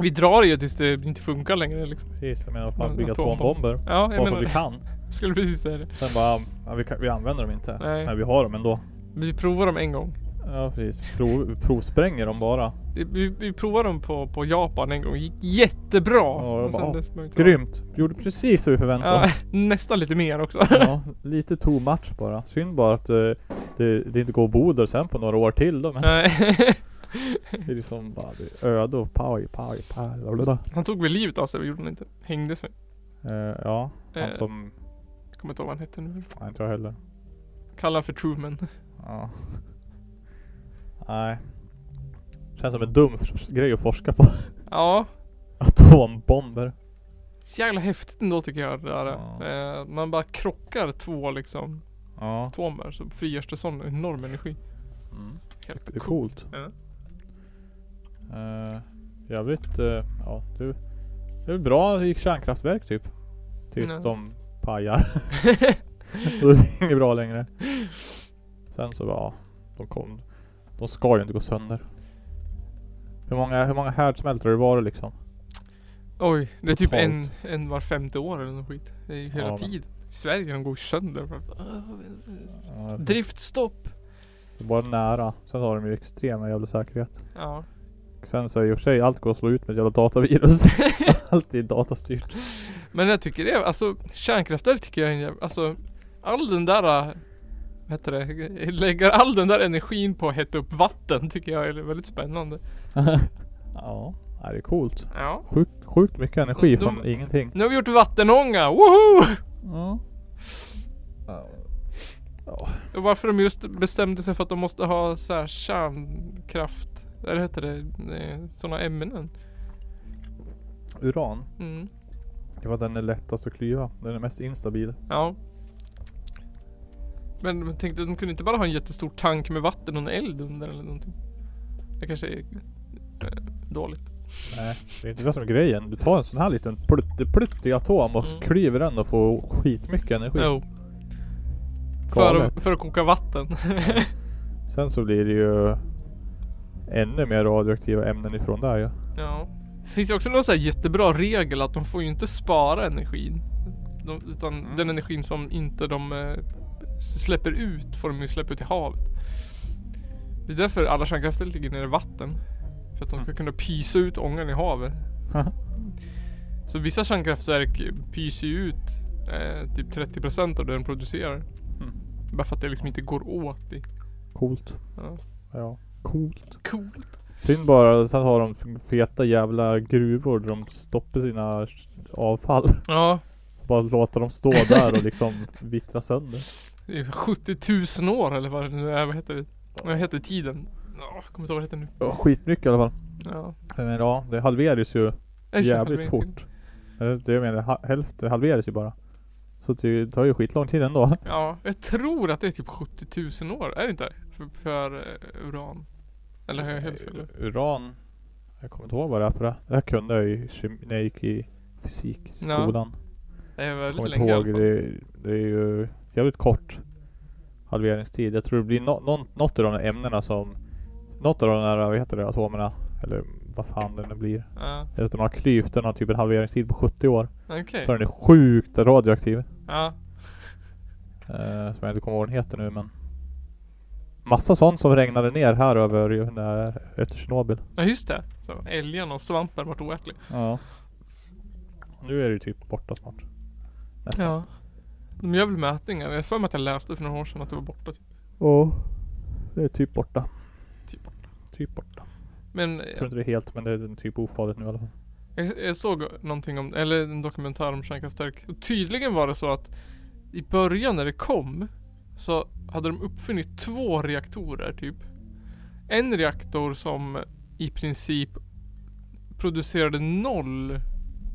A: Vi drar ju tills det inte funkar längre liksom.
B: precis. Jag menar, vad fan
A: Men
B: bygga
A: atombomb.
B: atombomber.
A: Ja, jag
B: Bara för att vi
A: menar
B: kan.
A: det. <laughs> Skulle precis säga det.
B: Sen bara, ja, vi, kan, vi använder dem inte.
A: Nej.
B: Men vi har dem ändå.
A: Vi provar dem en gång.
B: Ja precis. Prov, provspränger dem bara.
A: Det- Vi, vi provade dem på, på Japan en gång. gick jättebra.
B: Ja, jag
A: Och sen
B: bara,
A: dess behöver vi inte
B: Grymt! Vi gjorde precis som vi förväntade
A: Ja, <laughs>
B: oss.
A: nästan lite mer också.
B: Ja, lite to match bara. Synd bara att eh, det, det inte går att bo där sen på några år till då. Men
A: Nej.
B: <laughs> det är liksom bara det är öde och paj, paj, paj. blablabla.
A: <laughs> han tog väl livet av sig, gjorde han inte? Hängde sig.
B: Eh, ja, han
A: Eh.
B: som...
A: Jag kommer inte ihåg vad han hette nu.
B: Nej, inte jag heller.
A: Kallar han för Truman.
B: Ja. Nej. Känns som en dum f- grej att forska på. <laughs>
A: Ja,
B: Atombomber.
A: så jävla häftigt ändå tycker jag det där.
B: Ja.
A: Eh, man bara krockar två liksom
B: Ja.
A: atomer så frigörs det sån enorm energi.
B: Mm.
A: Helt
B: Det är coolt.
A: Ja.
B: Eh, I övrigt, eh, ja du. Det är bra i kärnkraftverk typ. Tills
A: Ja.
B: de
A: <laughs>
B: pajar. <laughs> Och då är det inget bra längre. Sen så bara, de kom. De ska ju inte gå sönder. Hur många, hur många härdsmältare var det liksom?
A: Oj, det är typ
B: Totalt.
A: en, en var femte år eller något skit. Det är ju hela
B: Ja, men-
A: tiden. I Sverige de går ju sönder. Ah,
B: Ja,
A: Driftstopp.
B: det var nära. Sen har de ju extrema jävla säkerhet.
A: Ja.
B: Sen så i och för sig, allt går att slå ut med ett jävla
A: <laughs>
B: datavirus. allt är datastyrt.
A: Men jag tycker det, alltså kärnkraftverk tycker jag är en jävla, alltså all den där, äh, vad heter det, eh, lägger all den där energin på att hetta upp vatten tycker jag är väldigt spännande.
B: <laughs> ja, nej, det är coolt.
A: Ja.
B: Sjukt, sjukt mycket energi
A: De-
B: från
A: de-
B: ingenting.
A: Nu har vi gjort vattenånga, woho!
B: Ja.
A: Och varför de just bestämde sig för att de måste ha så här kärnkraft, eller heter det, sådana ämnen.
B: Uran.
A: Mm.
B: Det var den är lättast att klyva. Den är mest instabil.
A: Ja. Men jag tänkte, de kunde inte bara ha en jättestor tank med vatten och en eld under eller någonting. Det kanske är eh, dåligt.
B: Nej, det är inte det som är grejen. Du tar en sån här liten plutti-plutti atom och
A: Mm.
B: klyver den och får skitmycket energi.
A: Jo. För
B: Galet.
A: att, för att koka vatten.
B: Sen så blir det ju ännu mer radioaktiva ämnen ifrån där ju.
A: ja. Det finns ju också någon så här jättebra regel att de får ju inte spara energin. De, utan
B: Mm.
A: den energin som inte de eh, släpper ut får de ju släppa ut i havet. Det är därför alla kärnkraftverk ligger nere i vatten. För att de ska
B: Mm.
A: kunna pysa ut ångan i havet. Mm. Så vissa kärnkraftverk pyser ju ut eh, typ 30% av det den producerar.
B: Mm.
A: Bara för att det liksom inte går åt. i-
B: Coolt.
A: Ja.
B: Ja. Coolt.
A: Coolt.
B: Synd bara, sen har de feta jävla gruvor där de stoppar sina avfall.
A: Ja,
B: Bara låter dem stå där och
A: <laughs>
B: liksom vittra sönder.
A: Det är 70 000 år eller vad det nu är. Vad heter det? Vad heter tiden? Ja, jag kommer inte ihåg vad det heter nu.
B: Ja, Skitmycket i alla fall.
A: Ja.
B: Men ja, det halveras ju
A: Just det, typ-
B: jävligt
A: halveringen till.
B: fort. Eh, Det jag menar, ha- hälften halveras ju bara. Så det tar ju skitlång tid ändå.
A: Ja, jag tror att det är typ 70 000 år. Är det inte? det? För, för eh, uran. Eller har jag helt fel?
B: Uran. Jag kommer inte ihåg vad det är för det. Det här kunde jag ju i kemi- när jag gick i fysikskolan.
A: Det är
B: Jag
A: väldigt
B: kommer
A: länge
B: inte ihåg.
A: i alla fall.
B: Det, är- det är ju jävligt kort halveringstid. Jag tror det blir no, no, något av de där ämnena som... Något av de där, vad heter det, atomerna. Eller vad fan det nu blir.
A: Ja,
B: Eller att de har klyvt den har typ en halveringstid på 70 år.
A: okej.
B: Så den är sjukt radioaktiv.
A: Ja,
B: Eh, som jag inte kommer ihåg vad den heter nu men. Massa sånt som regnade ner här över ju när, efter Tjernobyl.
A: ja just det. Så, älgen och svampen vart oätlig.
B: Ja. Nu är det ju typ borta snart. Nästan.
A: Ja. De gör väl mätningar. Jag har för mig att jag läste för några år sedan att det var borta. Typ.
B: Ja. Det är typ borta.
A: Typ borta.
B: Typ borta.
A: Men eh,
B: Jag tror
A: jag,
B: inte det är helt men det är typ ofarligt nu i alla fall.
A: jag, jag såg någonting om, eller en dokumentär om kärnkraftverk. Och tydligen var det så att i början när det kom så hade de uppfunnit två reaktorer typ. En reaktor som i princip producerade noll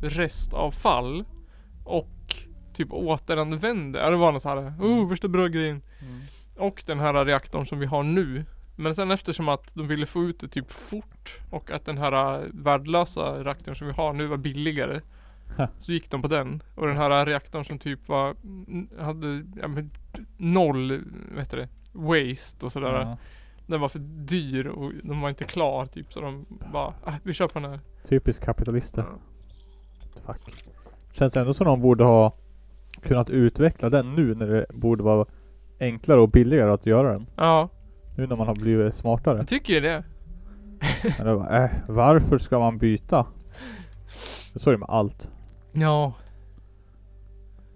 A: restavfall och typ återanvände. Ja, Det var någon så här, oh värsta bra grejen. Och den här reaktorn som vi har nu. Men sen eftersom att de ville få ut det typ fort och att den här eh, värdelösa reaktorn som vi har nu var billigare.
B: Ha.
A: Så gick de på den. Och den här reaktorn som typ var, n- hade, ja men noll, vad heter det, waste och sådär.
B: Ja.
A: Den var för dyr och den var inte klar typ så de bara, ah, vi kör på den här.
B: Typiskt kapitalister.
A: Ja.
B: Fuck. Känns ändå som de borde ha kunnat utveckla den nu när det borde vara enklare och billigare att göra den.
A: Ja,
B: Nu när man har blivit smartare.
A: <laughs> jag tycker ju det.
B: Men det var, äh, varför ska man byta? Så är det med allt.
A: Ja.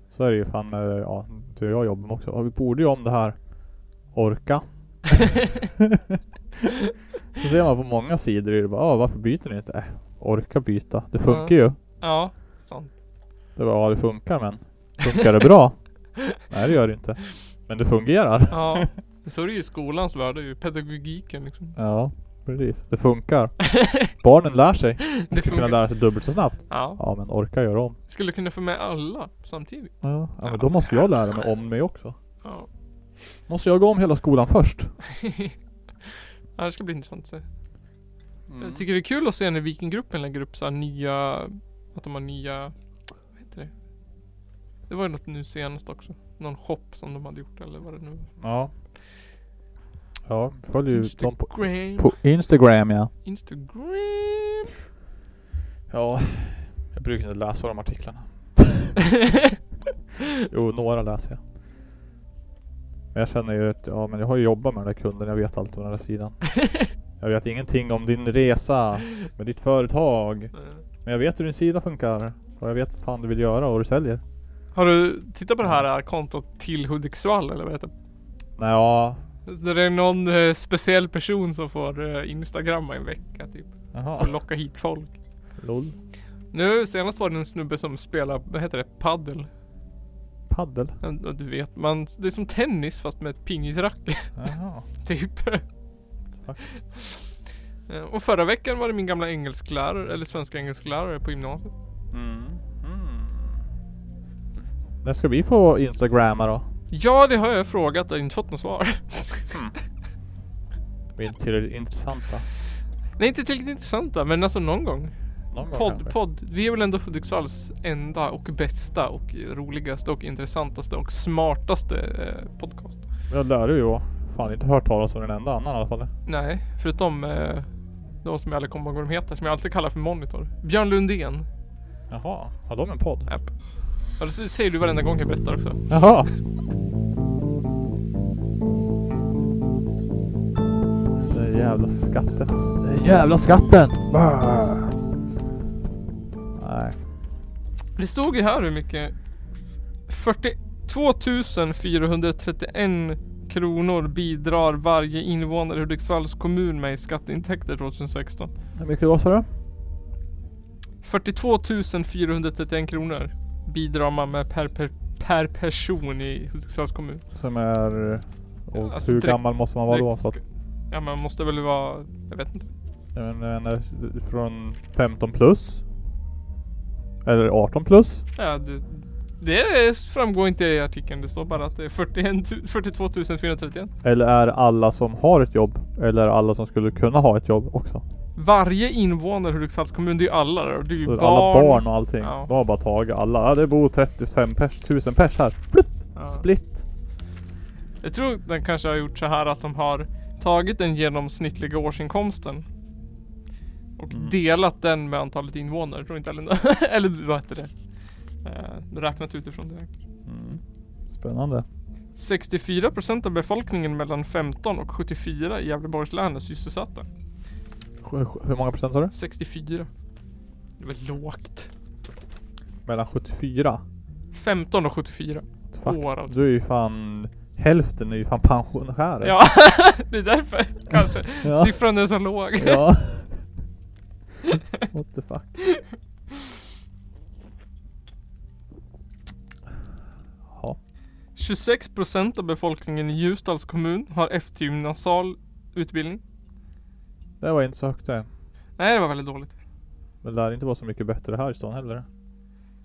B: Så är det ju fan, eh, ja, det jag jobbar med också. Ja, Vi borde ju om det här. Orka. <laughs> så ser man på många sidor är det bara, ah, varför byter ni inte? Äh, orka byta. Det funkar ju.
A: Ja, sant.
B: Det var, ja det funkar men. Funkar det
A: <laughs>
B: bra? Nej det gör det inte. Men det fungerar. <laughs>
A: Ja. Så är det ju i skolans värld, det är ju pedagogiken liksom.
B: Ja, precis. Det funkar. Barnen lär sig. De
A: <laughs> Det
B: ska kunna
A: funkar.
B: lära sig dubbelt så snabbt.
A: Ja.
B: Ja men orka göra om.
A: Skulle kunna få med alla samtidigt.
B: Ja, ja men
A: Ja.
B: då måste jag lära mig om mig också.
A: Ja.
B: Måste jag gå om hela skolan först?
A: <laughs> ja det ska bli intressant att se.
B: Mm.
A: Jag tycker det är kul att se när Vikinggruppen lägger upp så här nya, att de har nya, vad heter det? Det var ju något nu senast också. Någon shop som de hade gjort eller vad det nu var.
B: Ja. Ja, följ ju dem på,
A: Instagram.
B: på Instagram ja.
A: Instagram.
B: Ja, jag brukar inte läsa de <laughs> artiklarna. Jo, några läser jag. Men jag känner ju att, ja men jag har ju jobbat med den där kunden, jag vet allt om den där <laughs> sidan. Jag vet ingenting om din resa med ditt företag.
A: Eh,
B: Men jag vet hur din sida funkar. Och jag vet vad fan du vill göra och vad du säljer.
A: Har du tittat på det här eh, kontot till Hudiksvall eller vad heter det?
B: Nej, ja.
A: Där det är någon eh, speciell person som får eh, instagramma en vecka typ. För
B: Jaha.
A: att locka hit folk.
B: Lol.
A: Nu senast var det en snubbe som spelar, vad heter det, paddel.
B: Paddel.
A: Ja, Du vet, man, det är som tennis fast med ett pingisracket <laughs>
B: Jaha.
A: typ.
B: Fuck.
A: Eh, Och förra veckan var det min gamla engelsklärare, eller svenska engelsklärare på gymnasiet.
B: Mm. Mm. När ska vi få instagramma då?
A: Ja, det har jag frågat och inte fått något svar. <laughs>
B: Vi är inte tillräckligt intressanta.
A: Nej, inte tillräckligt intressanta, men alltså någon gång.
B: Någon gång kanske.
A: Podd, podd. Vi är väl ändå Hudiksvalls enda och bästa och roligaste och intressantaste och smartaste eh, podcast.
B: Jag lär ju vara. Fan inte hört talas om den enda annan i alla fall.
A: Nej, förutom eh, de som jag aldrig kommer ihåg vad de heter, som jag alltid kallar för Monitor. Björn Lundén.
B: Jaha. Har de en podd?
A: App. Ja, det säger du varenda gång jag berättar också.
B: Jaha. Den jävla skatten. Den jävla skatten! Brr. Nej.
A: Det stod ju här hur mycket 42 431 kronor bidrar varje invånare i Hudiksvalls kommun med i skatteintäkter 2016.
B: Hur mycket då sa du?
A: 42 431 kronor bidrar man med per, per, per person i Hudiksvalls kommun.
B: Som är... Och
A: Alltså,
B: hur
A: direkt-
B: gammal måste man vara då? För att,
A: Ja men måste väl vara, jag vet inte.
B: jag menar, från 15 plus? Eller 18 plus?
A: Ja, det, det framgår inte i artikeln. Det står bara att det är 41, tu- 42 431.
B: Eller är alla som har ett jobb? Eller är alla som skulle kunna ha ett jobb också?
A: Varje invånare i Hudiksvalls kommun, det är ju alla där. Och Det är ju
B: Så
A: barn.
B: Alla barn och allting.
A: Ja.
B: De har bara tagit alla. Ja, det bor 35 pers, 1000 pers här.
A: Ja.
B: Split.
A: Jag tror den kanske har gjort så här att de har tagit den genomsnittliga årsinkomsten. Och
B: Mm.
A: delat den med antalet invånare. Jag tror inte Elin <laughs> Eller vad heter det? Eh, räknat utifrån det.
B: Mm. Spännande.
A: 64% av befolkningen mellan 15 och 74 i Gävleborgs län är sysselsatta.
B: Sju- sju- Hur många procent sa du?
A: 64. Det var lågt.
B: Mellan 74.
A: 15 och 74
B: Fuck.
A: år alltså.
B: Du är ju fan Hälften är ju fan pensionärer.
A: Ja, det
B: <laughs>
A: är därför kanske.
B: Ja.
A: Siffran är så låg. <laughs>
B: ja. What the fuck. Ja.
A: 26% av befolkningen i Ljusdals kommun har eftergymnasial utbildning.
B: Det var inte så högt det.
A: Nej, det var väldigt dåligt.
B: Men det lär inte vara så mycket bättre här i stan heller.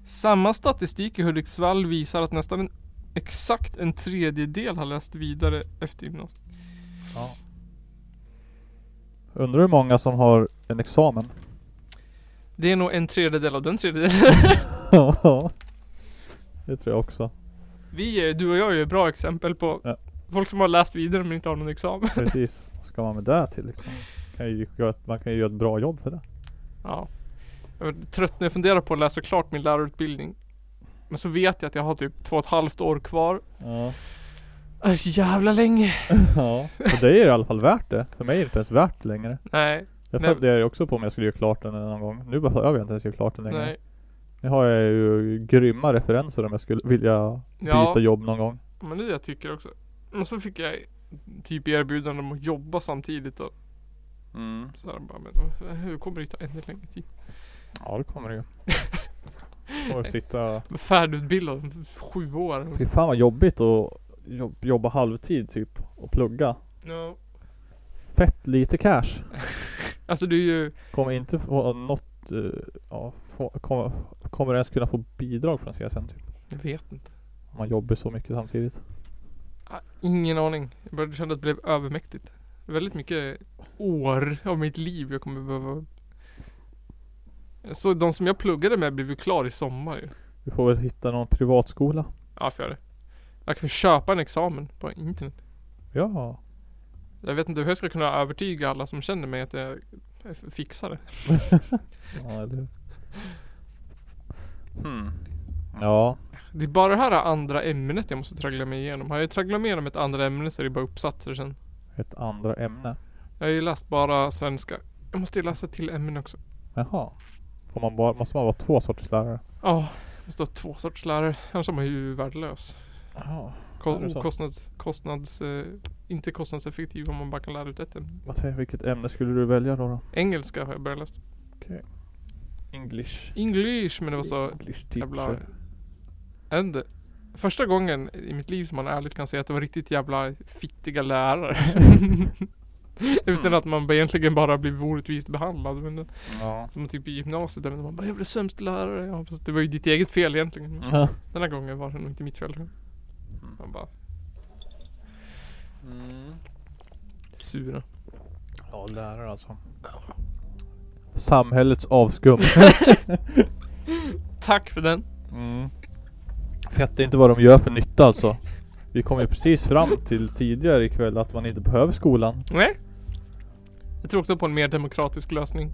A: Samma statistik i Hudiksvall visar att nästan en, exakt en tredjedel har läst vidare efter gymnasiet.
B: Ja. Undrar hur många som har en examen. <laughs>
A: Det är nog en tredjedel av den tredjedelen. <laughs>
B: Ja. det tror jag också.
A: Vi är, du och jag är ju bra exempel på
B: Ja.
A: folk som har läst vidare men inte har någon examen. <laughs>
B: <laughs> Precis. Vad ska man med det till liksom? Kan ju, göra ett- man kan ju göra ett bra jobb för det.
A: Ja. Jag är trött när jag funderar på att läsa klart min lärarutbildning. Men så vet jag att jag har typ två och ett halvt år kvar.
B: Ja.
A: Det är Alltså, så jävla länge.
B: ja. <laughs> För dig är det i alla fall värt det. För mig är det inte ens värt det längre.
A: Nej,
B: Jag
A: Nej.
B: funderar ju också på om jag skulle göra klart den någon gång. Nu behöver jag inte ens göra klart den längre.
A: nej.
B: Nu har jag ju grymma referenser om jag skulle vilja
A: Ja.
B: byta jobb någon gång.
A: Men det är det jag tycker också. Men så fick jag typ erbjudande om att jobba samtidigt och så här bara, men hur kommer det ta ännu längre tid?
B: Ja det kommer det
A: <laughs>
B: ju. Kommer sitta...
A: Men Färdigutbildad om sju år.
B: Fy fan vad jobbigt att jobb, jobba halvtid typ och plugga.
A: Ja.
B: Fett lite cash.
A: Alltså du är ju,
B: Kommer inte få något... eh, ja, få, kommer, kommer ens kunna få bidrag från CSN typ.
A: jag vet inte.
B: Om man jobbar så mycket samtidigt.
A: Ah, Ingen aning. Jag började känna att det blev övermäktigt. Väldigt mycket år av mitt liv jag kommer behöva. Så de som jag pluggade med blev ju klar i sommar ju.
B: Du får väl hitta någon privatskola.
A: Ja, för jag det. Jag kan köpa en examen på internet.
B: Ja.
A: Jag vet inte hur jag ska kunna övertyga alla som känner mig att jag fixar det.
B: Ja eller hur. Hmm. Ja.
A: Det är bara det här andra ämnet jag måste traggla mig igenom. Har jag tragglat mig igenom ett andra ämne så är det bara uppsatser sen.
B: Ett andra ämne.
A: Jag har ju läst bara svenska. Jag måste ju läsa till ämnen också.
B: Jaha. Får man bara, måste man vara två sorters lärare?
A: Ja, måste ha två sorts lärare. Annars är man ju värdelös.
B: Jaha. Är det
A: Ko-
B: så?
A: kostnads, kostnads, eh, inte kostnadseffektiv om man bara kan lära ut ett ämne.
B: Vad säger, vilket ämne skulle du välja då? då?
A: Engelska har jag börjat läsa.
B: English.
A: English, men det var så
B: English
A: jävla...
B: teacher.
A: Ändå. Första gången i mitt liv som man ärligt kan säga att det var riktigt jävla fittiga lärare. Utan att man egentligen bara blivit orättvist behandlad. Men det-
B: Ja.
A: som typ i gymnasiet där man bara, jag blev sämst lärare. Ja, fast det var ju ditt eget fel egentligen.
B: Ja.
A: Den här gången var det nog inte mitt fel. Man bara,
B: Mm.
A: sura.
B: <laughs> ja, lärare alltså. Samhällets avskum.
A: Tack för den.
B: Mm. Fett inte vad de gör för nytta alltså. Vi kom ju precis fram till tidigare ikväll att man inte behöver skolan.
A: Nej. Jag tror också på en mer demokratisk lösning.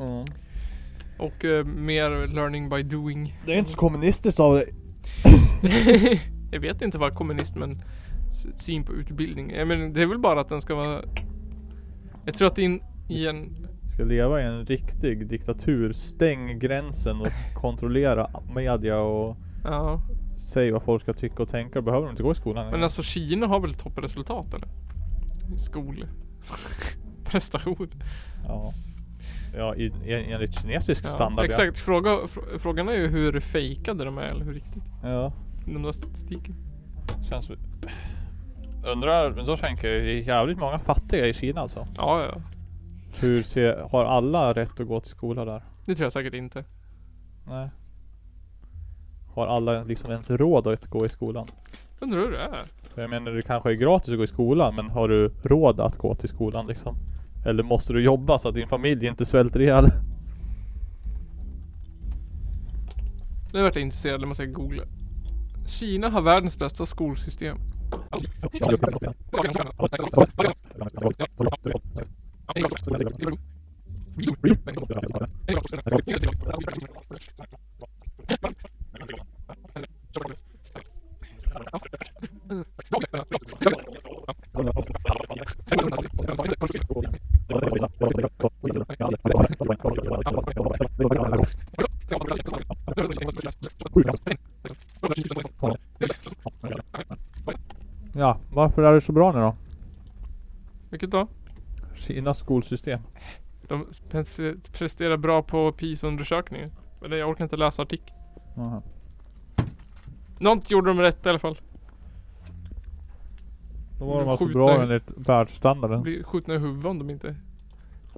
B: Mm.
A: Och eh, mer learning by doing.
B: Det är inte så kommunistiskt av dig.
A: jag vet inte vad kommunismen s- syn på utbildning är. Men det är väl bara att den ska vara... Jag tror att in i en...
B: Ska leva i en riktig diktatur. Stäng gränsen och kontrollera media och
A: Ja.
B: säg vad folk ska tycka och tänka. Behöver de inte gå i skolan?
A: Men
B: längre.
A: alltså Kina har väl toppresultat eller? I <laughs> Skolprestation.
B: Ja. Ja, i, en- enligt kinesisk standard ja.
A: exakt. Fråga, fr- frågan är ju hur fejkade de är eller hur riktigt.
B: Ja.
A: De där statistiken.
B: Känns... Undrar, men då tänker jag, det är jävligt många fattiga i Kina alltså.
A: Ja, ja.
B: Hur ser, har alla rätt att gå till skola där?
A: Det tror jag säkert inte.
B: Nej. Har alla liksom ens råd att gå i skolan?
A: Undrar hur det är.
B: För jag menar det kanske är gratis att gå i skolan men har du råd att gå till skolan liksom? Eller måste du jobba så att din familj inte svälter ihjäl?
A: Nu vart jag intresserad, det måste jag googla. Kina har världens bästa skolsystem.
B: Ja, varför är det så bra nu då?
A: Vilket då?
B: Kinas skolsystem.
A: De pres- presterar bra på PISA-undersökningen. Eller jag orkar inte läsa artikeln.
B: Aha.
A: Något gjorde de rätt i alla fall.
B: Då var de
A: De
B: alltså
A: skjuter-
B: bra enligt världsstandarden.
A: Blir skjutna i huvudet om de inte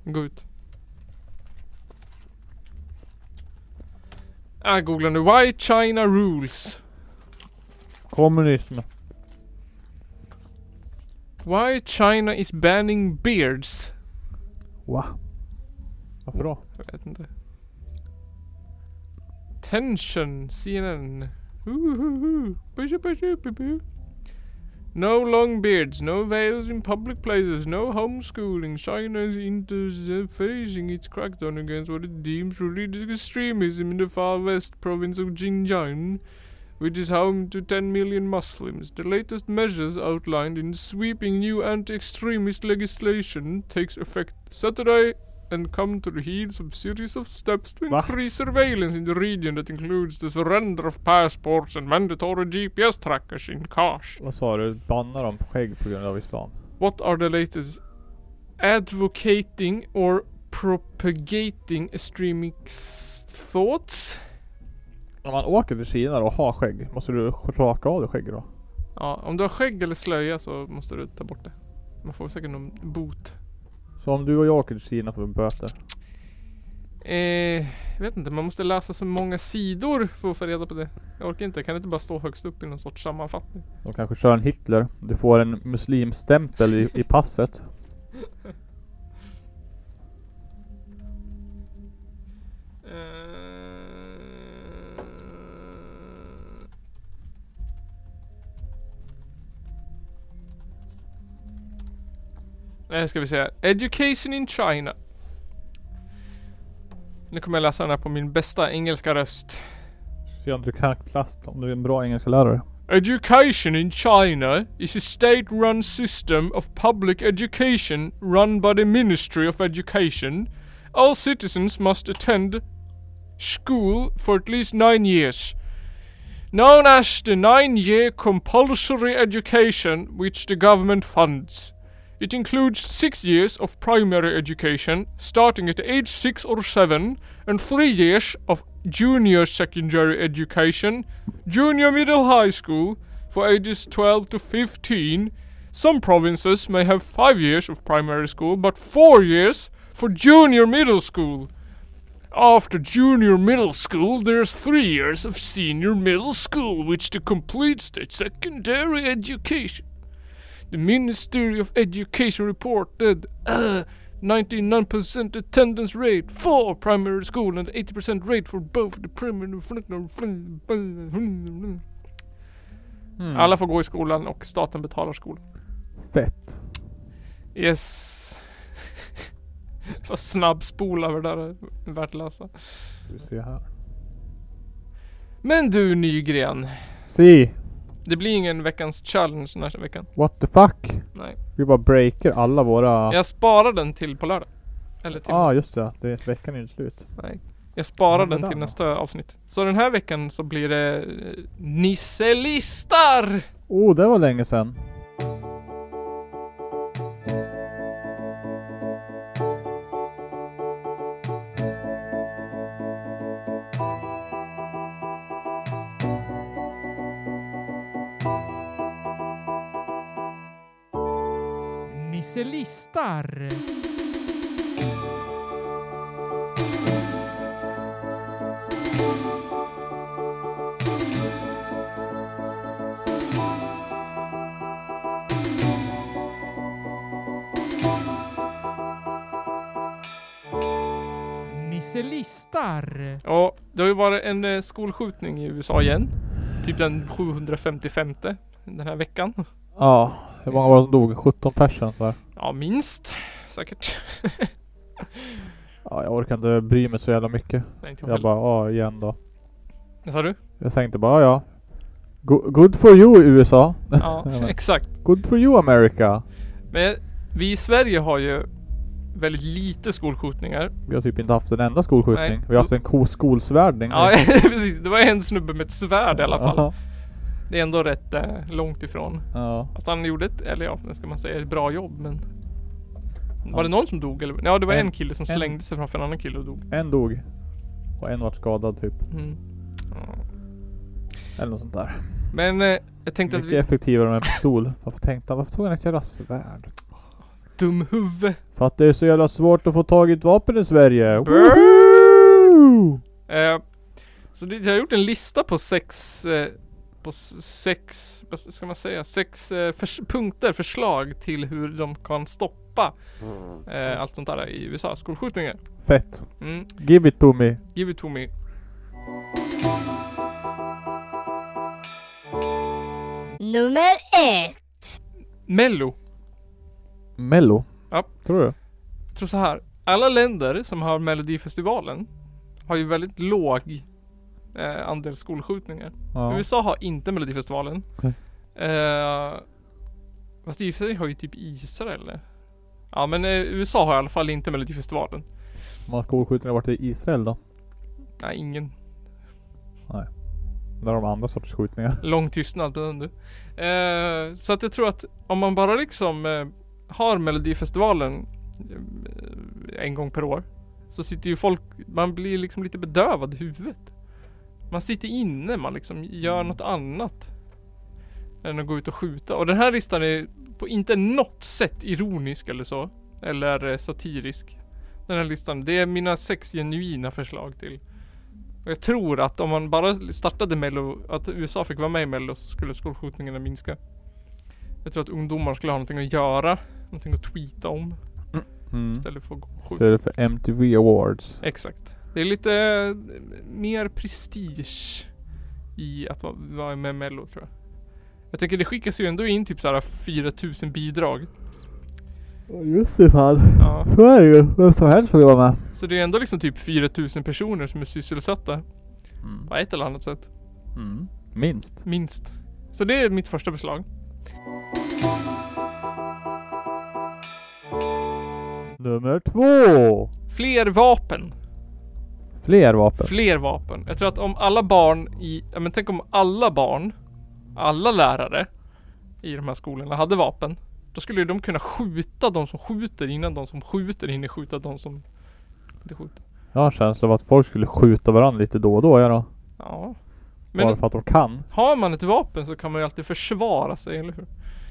A: går ut. Jag Ah, googlar nu. Why China rules?
B: Kommunism.
A: Why China is banning beards?
B: Va? Varför då?
A: Jag vet inte. Tension, CNN. Ooh-hoo-hoo. Bushu, bushu, bu, bu. No long beards, no veils in public places, no homeschooling. China is into facing its crackdown against what it deems religious extremism in the far west province of Xinjiang, which is home to 10 million Muslims. The latest measures outlined in sweeping new anti-extremist legislation takes effect Saturday and come to the heels of series of steps to
B: Va?
A: increase surveillance in the region that includes the surrender of passports and mandatory GPS trackers in cars.
B: Vad sa du? Bannar de skägg på grund av islam?
A: What are the latest advocating or propagating extremist thoughts?
B: Om man åker till Kina då och har skägg, måste du raka av dig skägget då?
A: Ja, om du har skägg eller slöja så måste du ta bort det. Man får säkert någon bot.
B: Så om du och jag åker till Kina får vi böter.
A: Eh, jag vet inte, man måste läsa så många sidor för att få reda på det. Jag orkar inte, jag kan inte bara stå högst upp i någon sorts sammanfattning.
B: De kanske kör en Hitler. Du får en muslimstämpel i, i passet.
A: Eh, Nu ska vi se här. Education in China. Nu kommer jag läsa den här på min bästa engelska röst.
B: Se om du kan plast om du är en bra engelska lärare.
A: Education in China is a state-run system of public education run by the Ministry of Education. All citizens must attend school for at least nine years. Known as the nine-year compulsory education which the government funds. It includes six years of primary education, starting at age six or seven, and three years of junior secondary education, junior middle high school for ages 12 to 15. Some provinces may have five years of primary school, but four years for junior middle school. After junior middle school, there's three years of senior middle school, which to completes the secondary education. The Ministry of Education reported uh, 99% attendance rate for primary school and 80% rate for both the primary and
B: Mm.
A: Alla får gå i skolan och staten betalar skolan.
B: Fett.
A: Yes. <laughs> Vad snabbspola över det där värdelösa.
B: Vi ser här.
A: Men du Nygren.
B: See!
A: Det blir ingen veckans challenge den här veckan.
B: What the fuck?
A: Nej.
B: Vi bara breaker alla våra...
A: Jag sparar den till på lördag. Eller till
B: ah just det. det är, veckan är inte slut.
A: Jag sparar
B: Mm,
A: den
B: där
A: till
B: då.
A: nästa avsnitt. Så den här veckan så blir det eh, Nisselistar!
B: Oh det var länge sedan.
A: Nisselistar! Nisselistar! Ja, det har ju varit en eh, skolskjutning i USA igen. Typ den 755 den här veckan.
B: Ja. hur många var det som dog? 17 personer så här.
A: Ja, minst. Säkert.
B: Ja jag orkar inte bry mig så jävla mycket.
A: Nej, inte jag
B: Jag
A: heller.
B: bara ja igen då.
A: Vad sa du?
B: Jag tänkte bara ja. Go- good for you USA. <laughs>
A: Ja, exakt.
B: Good for you America.
A: Men vi i Sverige har ju väldigt lite skolskjutningar.
B: Vi har typ inte haft en enda skolskjutning.
A: Nej. <laughs>
B: Vi har haft en ko- skolsvärdning.
A: Ja, precis. Det var en snubbe med ett svärd i alla fall. Det är ändå rätt eh, långt ifrån.
B: Ja.
A: Fast han gjorde ett, eller ja, vad ska man säga, ett bra jobb men...
B: Ja.
A: Var det någon som dog eller? Ja det var
B: En-
A: en kille som
B: en-
A: slängde sig framför en annan kille och dog.
B: En dog. Och en vart skadad typ.
A: Mm. Ja.
B: Eller något sånt där.
A: Men eh, jag tänkte
B: Mycket
A: att vi...
B: effektivare med en pistol. Varför tänkte han, varför tog han ett jävla svärd?
A: Dumhuvud!
B: För att det är så jävla svårt att få tag i ett vapen i Sverige.
A: Brr.
B: Woho!
A: Eh, så det, jag har gjort en lista på sex... Eh, på s- sex... Vad ska man säga? Sex eh, förs- punkter, förslag till hur de kan stoppa eh, allt sånt där i USA. Skolskjutningar.
B: Fett.
A: Mm.
B: Give it to me.
A: Give it to me.
C: Nummer ett.
A: Mello.
B: Mello?
A: Ja.
B: Tror du?
A: Jag tror så här. Alla länder som har Melodifestivalen har ju väldigt låg eh, andel skolskjutningar.
B: Ja.
A: USA har inte Melodifestivalen.
B: Nej.
A: Eh, fast i och för sig har ju typ Israel det. Ja men eh, USA har i alla fall inte Melodifestivalen.
B: Man skolskjutningar varit i Israel då?
A: Nej ingen.
B: Där har de andra sorters skjutningar.
A: <laughs> Lång tystnad på den du. Eh, så att jag tror att om man bara liksom eh, har Melodifestivalen eh, en gång per år. Så sitter ju folk, man blir liksom lite bedövad i huvudet. Man sitter inne, man liksom gör något annat. Än att gå ut och skjuta. Och den här listan är på inte något sätt ironisk eller så. Eller eh, satirisk. Den här listan, det är mina sex genuina förslag till. Och jag tror att om man bara startade Mello, att USA fick vara med i Mello så skulle skolskjutningarna minska. Jag tror att ungdomar skulle ha någonting att göra, någonting att tweeta om
B: Mm.
A: istället för att gå och skjuta.
B: Istället för MTV Awards.
A: Exakt. Det är lite eh, mer prestige i att va- vara med i Mello tror jag. Jag tänker det skickas ju ändå in typ såhär 4000 bidrag.
B: Just det fan.
A: Ja.
B: Så är det ju. Vem som helst får ju vara med.
A: Så det är ändå liksom typ 4000 personer som är sysselsatta
B: Mm.
A: på ett eller annat sätt.
B: Minst.
A: Minst. Så det är mitt första förslag.
B: Nummer två.
A: Fler vapen.
B: Fler vapen.
A: Fler vapen. Jag tror att om alla barn i, ja men tänk om alla barn, alla lärare i de här skolorna hade vapen. Då skulle ju de kunna skjuta de som skjuter innan de som skjuter hinner skjuta de som inte skjuter.
B: Jag har en känsla av att folk skulle skjuta varandra lite då och då ja då.
A: Ja. Men
B: Bara för att de kan.
A: har man ett vapen så kan man ju alltid försvara sig, eller hur?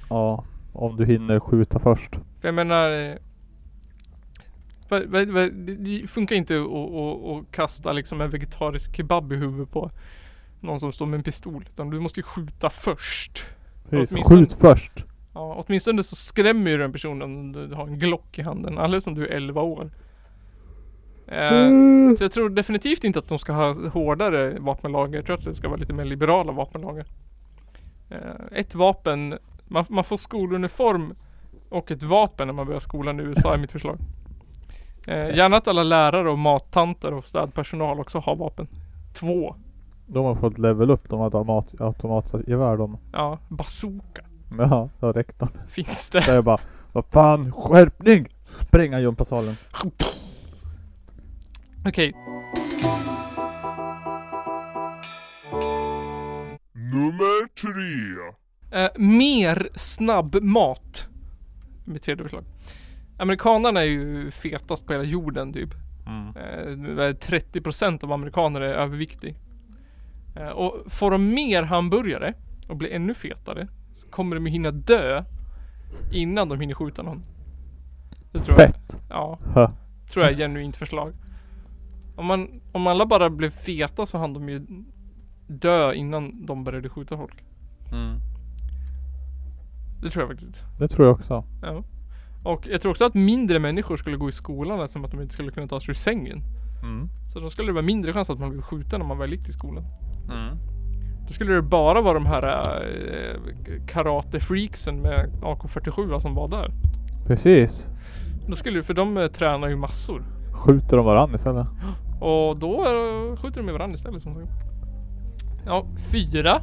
B: Ja. Om du hinner skjuta först.
A: För jag menar... eh, vad- vad- vad- Det det funkar inte att- att- att- att kasta liksom en vegetarisk kebab i huvudet på någon som står med en pistol. Utan du måste ju skjuta först.
B: Precis.
A: Åtminstone-
B: Skjut först.
A: Ja, åtminstone så skrämmer ju den personen om du har en Glock i handen. Alldeles om du är 11 år. Eh,
B: Mm.
A: så jag tror definitivt inte att de ska ha hårdare vapenlagar. Jag tror att det ska vara lite mer liberala vapenlagar. Eh, ett vapen, man, man får skoluniform och ett vapen när man börjar skolan i USA är mitt förslag. Eh, gärna att alla lärare och mattanter och städpersonal också har vapen. Två. automat-
B: De har fått level upp. De har ett automat, automatgevär de.
A: Ja, bazooka
B: Ja, det har rektorn.
A: finns det.
B: Så jag bara. Vad fan skärpning! Spränga gympasalen.
A: Okej,
D: Nummer tre.
A: Eh, mer snabbmat. Mitt tredje förslag. Amerikanerna är ju fetast på hela jorden typ. Eh, vad är det, 30% av amerikaner är överviktig. Eh, och får de mer hamburgare och blir ännu fetare så kommer de ju hinna dö innan de hinner skjuta någon. Det tror jag.
B: Fett.
A: Ja,
B: Hö.
A: tror jag är ett genuint förslag. Om, man, om alla bara blev feta så hann de ju dö innan de började skjuta folk. Det tror jag faktiskt.
B: Det tror jag också.
A: Ja. Och jag tror också att mindre människor skulle gå i skolan eftersom att de inte skulle kunna ta sig ur sängen. Så då skulle det vara mindre chans att man blev skjuten om man väl gick i skolan. Då skulle det bara vara de här eh, karatefreaksen med AK47 som var där.
B: Precis.
A: Då skulle, för de eh, tränar ju massor.
B: Skjuter de varandra istället?
A: Och då eh, skjuter de med varandra istället som sagt. Ja, fyra.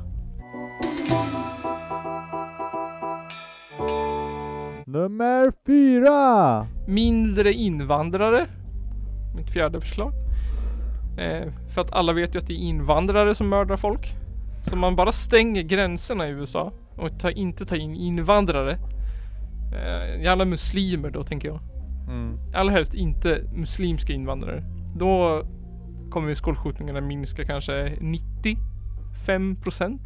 B: Nummer fyra!
A: Mindre invandrare. Mitt fjärde förslag. Eh, för att alla vet ju att det är invandrare som mördar folk. Så man bara stänger gränserna i USA och ta, inte tar in invandrare. Eh, gärna muslimer då tänker jag.
E: Mm.
A: Allra helst inte muslimska invandrare. Då kommer ju skolskjutningarna minska kanske 95 procent.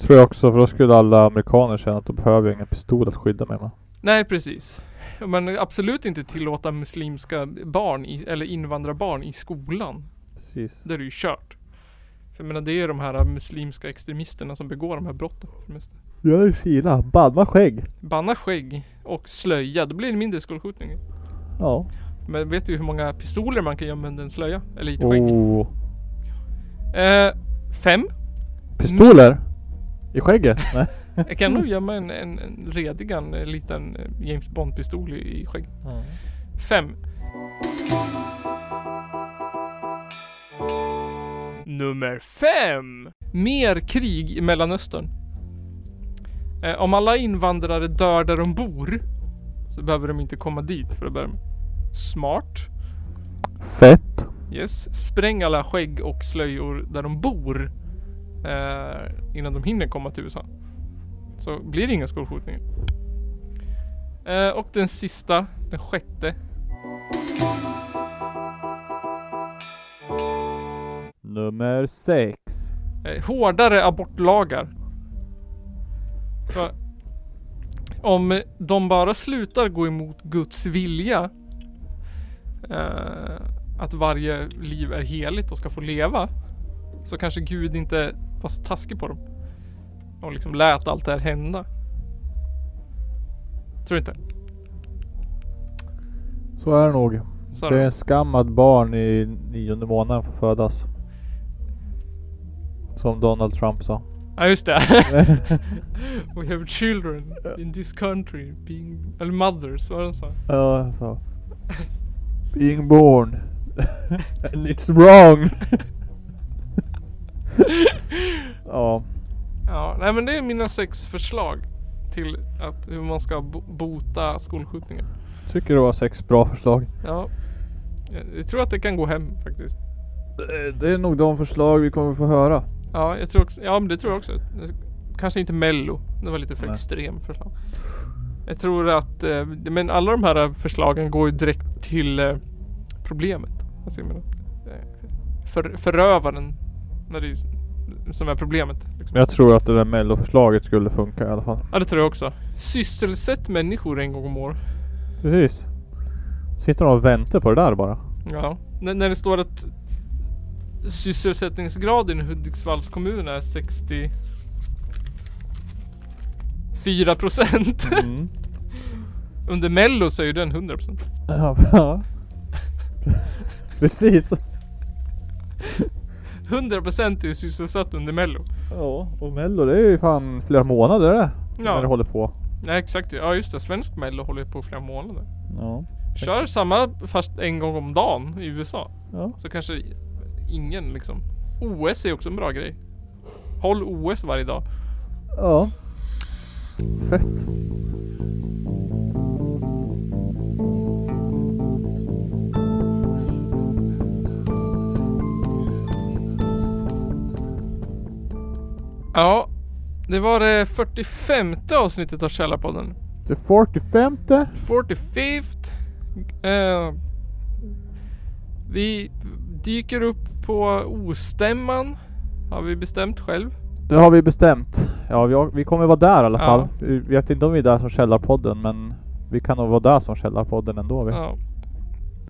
B: Tror jag också, för då skulle alla amerikaner känna att de behöver ju ingen pistol att skydda mig med.
A: Nej precis. Men absolut inte tillåta muslimska barn i, eller invandrarbarn i skolan.
B: Precis.
A: Där är det ju kört. För jag menar det är ju de här muslimska extremisterna som begår de här brotten. för det mesta.
B: Jag är Kina, banna skägg.
A: Banna skägg och slöja, då blir det mindre skolskjutningar.
B: Ja.
A: Men vet du hur många pistoler man kan gömma under en slöja? Eller i ett skägg?
B: Oh.
A: Eh, fem.
B: Pistoler? I skägget? Nej.
A: Jag kan nog gömma en, en, en redigan eh, liten eh, James Bond-pistol i, i skägg. Fem. Nummer fem. Mer krig i Mellanöstern. Eh, om alla invandrare dör där de bor så behöver de inte komma dit för att börja med. Smart.
B: <laughs> Fett.
A: Yes. Spräng alla skägg och slöjor där de bor eh, innan de hinner komma till USA. Så blir det inga skolskjutningar. Eh, och den sista, den sjätte.
B: Nummer sex.
A: Eh, hårdare abortlagar. Så, om de bara slutar gå emot Guds vilja eh, att varje liv är heligt och ska få leva så kanske Gud inte var så taskig på dem och liksom lät allt det här hända. Tror inte.
B: Så är det nog.
A: Så
B: Det är
A: det.
B: en skam att barn i nionde månaden får födas. Som Donald Trump sa.
A: Ja just det. We have children in this country being, eller mothers, vad var det han sa?
B: Ja, så. Being <laughs> born. And it's wrong. <laughs> ja.
A: <laughs> Ja, nej men det är mina sex förslag till att hur man ska bo- bota skolskjutningar.
B: Tycker det var sex bra förslag.
A: Ja. Jag- Jag tror att det kan gå hem faktiskt.
B: Eh, Det är nog de förslag vi kommer få höra.
A: Ja, jag tror också, ja men det tror jag också. Kanske inte mello. Det var lite för
B: Nej.
A: extrem förslag. Jag tror att, eh, men alla de här eh, förslagen går ju direkt till eh, problemet. Alltså jag menar, eh, för, förövaren. När det är, som är problemet. Liksom.
B: Jag tror att det där melloförslaget skulle funka i alla fall.
A: Ja det tror jag också. Sysselsätt människor en gång om året.
B: Precis. Sitter de och väntar på det där bara?
A: Ja, när, när det står att sysselsättningsgraden i Hudiksvalls kommun är 64 procent.
B: Mm.
A: <laughs> Under mello så är ju den 100 procent.
B: Ja, <laughs> <laughs> ja. Precis.
A: 100 procent är ju sysselsatt under mello.
B: Ja, och mello det är ju fan flera månader det. När det
A: Ja,
B: håller på.
A: ja exakt. Ja just det, svensk mello håller ju på i flera månader.
B: Ja.
A: Kör samma fast en gång om dagen i USA.
B: Ja.
A: Så kanske ingen liksom. OS är också en bra grej. Håll OS varje dag.
B: Ja. Fett.
A: Ja, det var det 45 avsnittet av Källarpodden.
B: Det 45
A: 45th. Eh, vi dyker upp på ostämman. Har vi bestämt själv.
B: Det har vi bestämt. Ja, vi, har, vi kommer vara där i alla
A: Ja.
B: fall. Vi vet inte om vi är där som Källarpodden, men vi kan nog vara där som Källarpodden ändå. Vi.
A: Ja.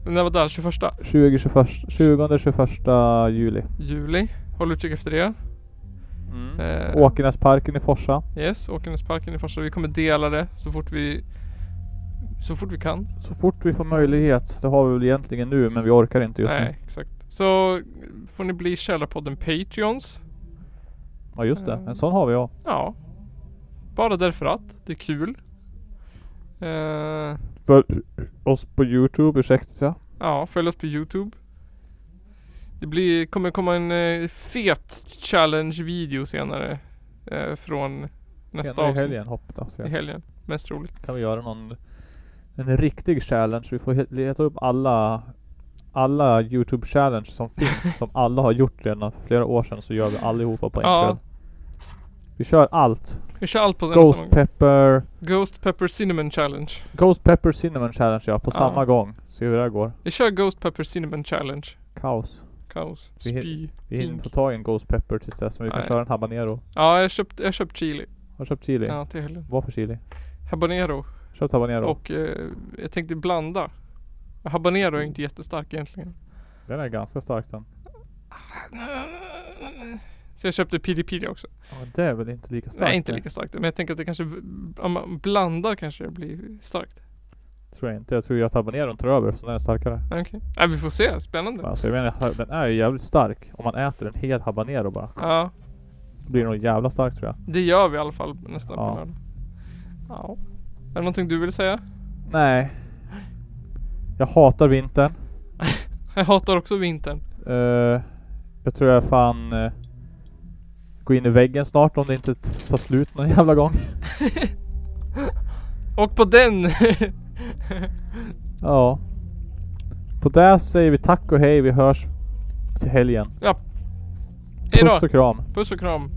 A: Men det var där 21
B: 20, 21, 20, 21 juli.
A: juli. Håll utkik efter det. Eh,
B: Åkenäsparken i Forsa.
A: Yes, Åkernesparken i Farsta. Vi kommer dela det så fort vi så fort vi kan.
B: Så fort vi får möjlighet. Det har vi väl egentligen nu, men vi orkar inte just nu.
A: Nej, exakt. Så får ni bli Källarpodden Patreons.
B: Ja, just det.
A: Mm.
B: En sån har vi ja.
A: Ja. Bara därför att. Det är kul. Eh,
B: För oss på Youtube, ursäkta.
A: ja, följ oss på Youtube. Det blir, kommer komma en eh, fet challenge-video senare. eh, från nästa
B: Senare i
A: avsnitt.
B: helgen hoppas
A: I
B: jag.
A: helgen. Mest roligt.
B: Kan vi göra någon en riktig challenge. Vi får he- leta upp alla alla youtube challenge som
A: <laughs>
B: finns, som alla har gjort redan för flera år sedan, så gör vi allihopa på en
A: Ja.
B: kväll. Vi kör allt.
A: Vi kör allt på den
B: Ghost
A: samma gång.
B: pepper,
A: Ghost Pepper Cinnamon Challenge.
B: Ghost pepper cinnamon challenge ja, på
A: Ja.
B: samma gång. Se hur det här går.
A: Vi kör Ghost Pepper Cinnamon Challenge. Kaos. Kaos.
B: Vi hin-
A: Spy.
B: Vi hinner
A: Pink.
B: få tag i en ghost pepper tills dess, men vi kan
A: Nej.
B: köra en habanero.
A: Ja, jag köpte, jag köpt chili.
B: Har du köpt chili?
A: Ja, till helgen.
B: Vad för chili?
A: Habanero.
B: Köpt habanero?
A: Och eh, jag tänkte blanda. Habanero är inte jättestark egentligen.
B: Den är ganska stark den.
A: Så jag köpte piri piri också.
B: Ja, det är väl inte lika starkt?
A: Nej, inte
B: det?
A: lika starkt. Men jag tänker att det kanske, om man blandar kanske det blir starkt.
B: Tror jag inte. Jag tror ju att habaneron tar över eftersom den är starkare.
A: Okej. Ja, vi får se. Spännande.
B: Alltså jag menar, ha- den är ju jävligt stark. Om man äter en hel habanero bara.
A: Ja,
B: Då blir det nog jävla starkt tror jag.
A: det gör vi i alla fall nästan
B: Ja.
A: på lördag. Ja. Är det någonting du vill säga?
B: Nej. Jag hatar vintern.
A: Jag hatar också vintern.
B: Eh, jag tror jag fan uh, går in i väggen snart om det inte t- tar slut någon <laughs> jävla gång.
A: Och på den! <laughs>
B: Ja. På det säger vi tack och hej. Vi hörs till helgen.
A: Hejdå!
B: Puss och kram.
A: Puss och kram.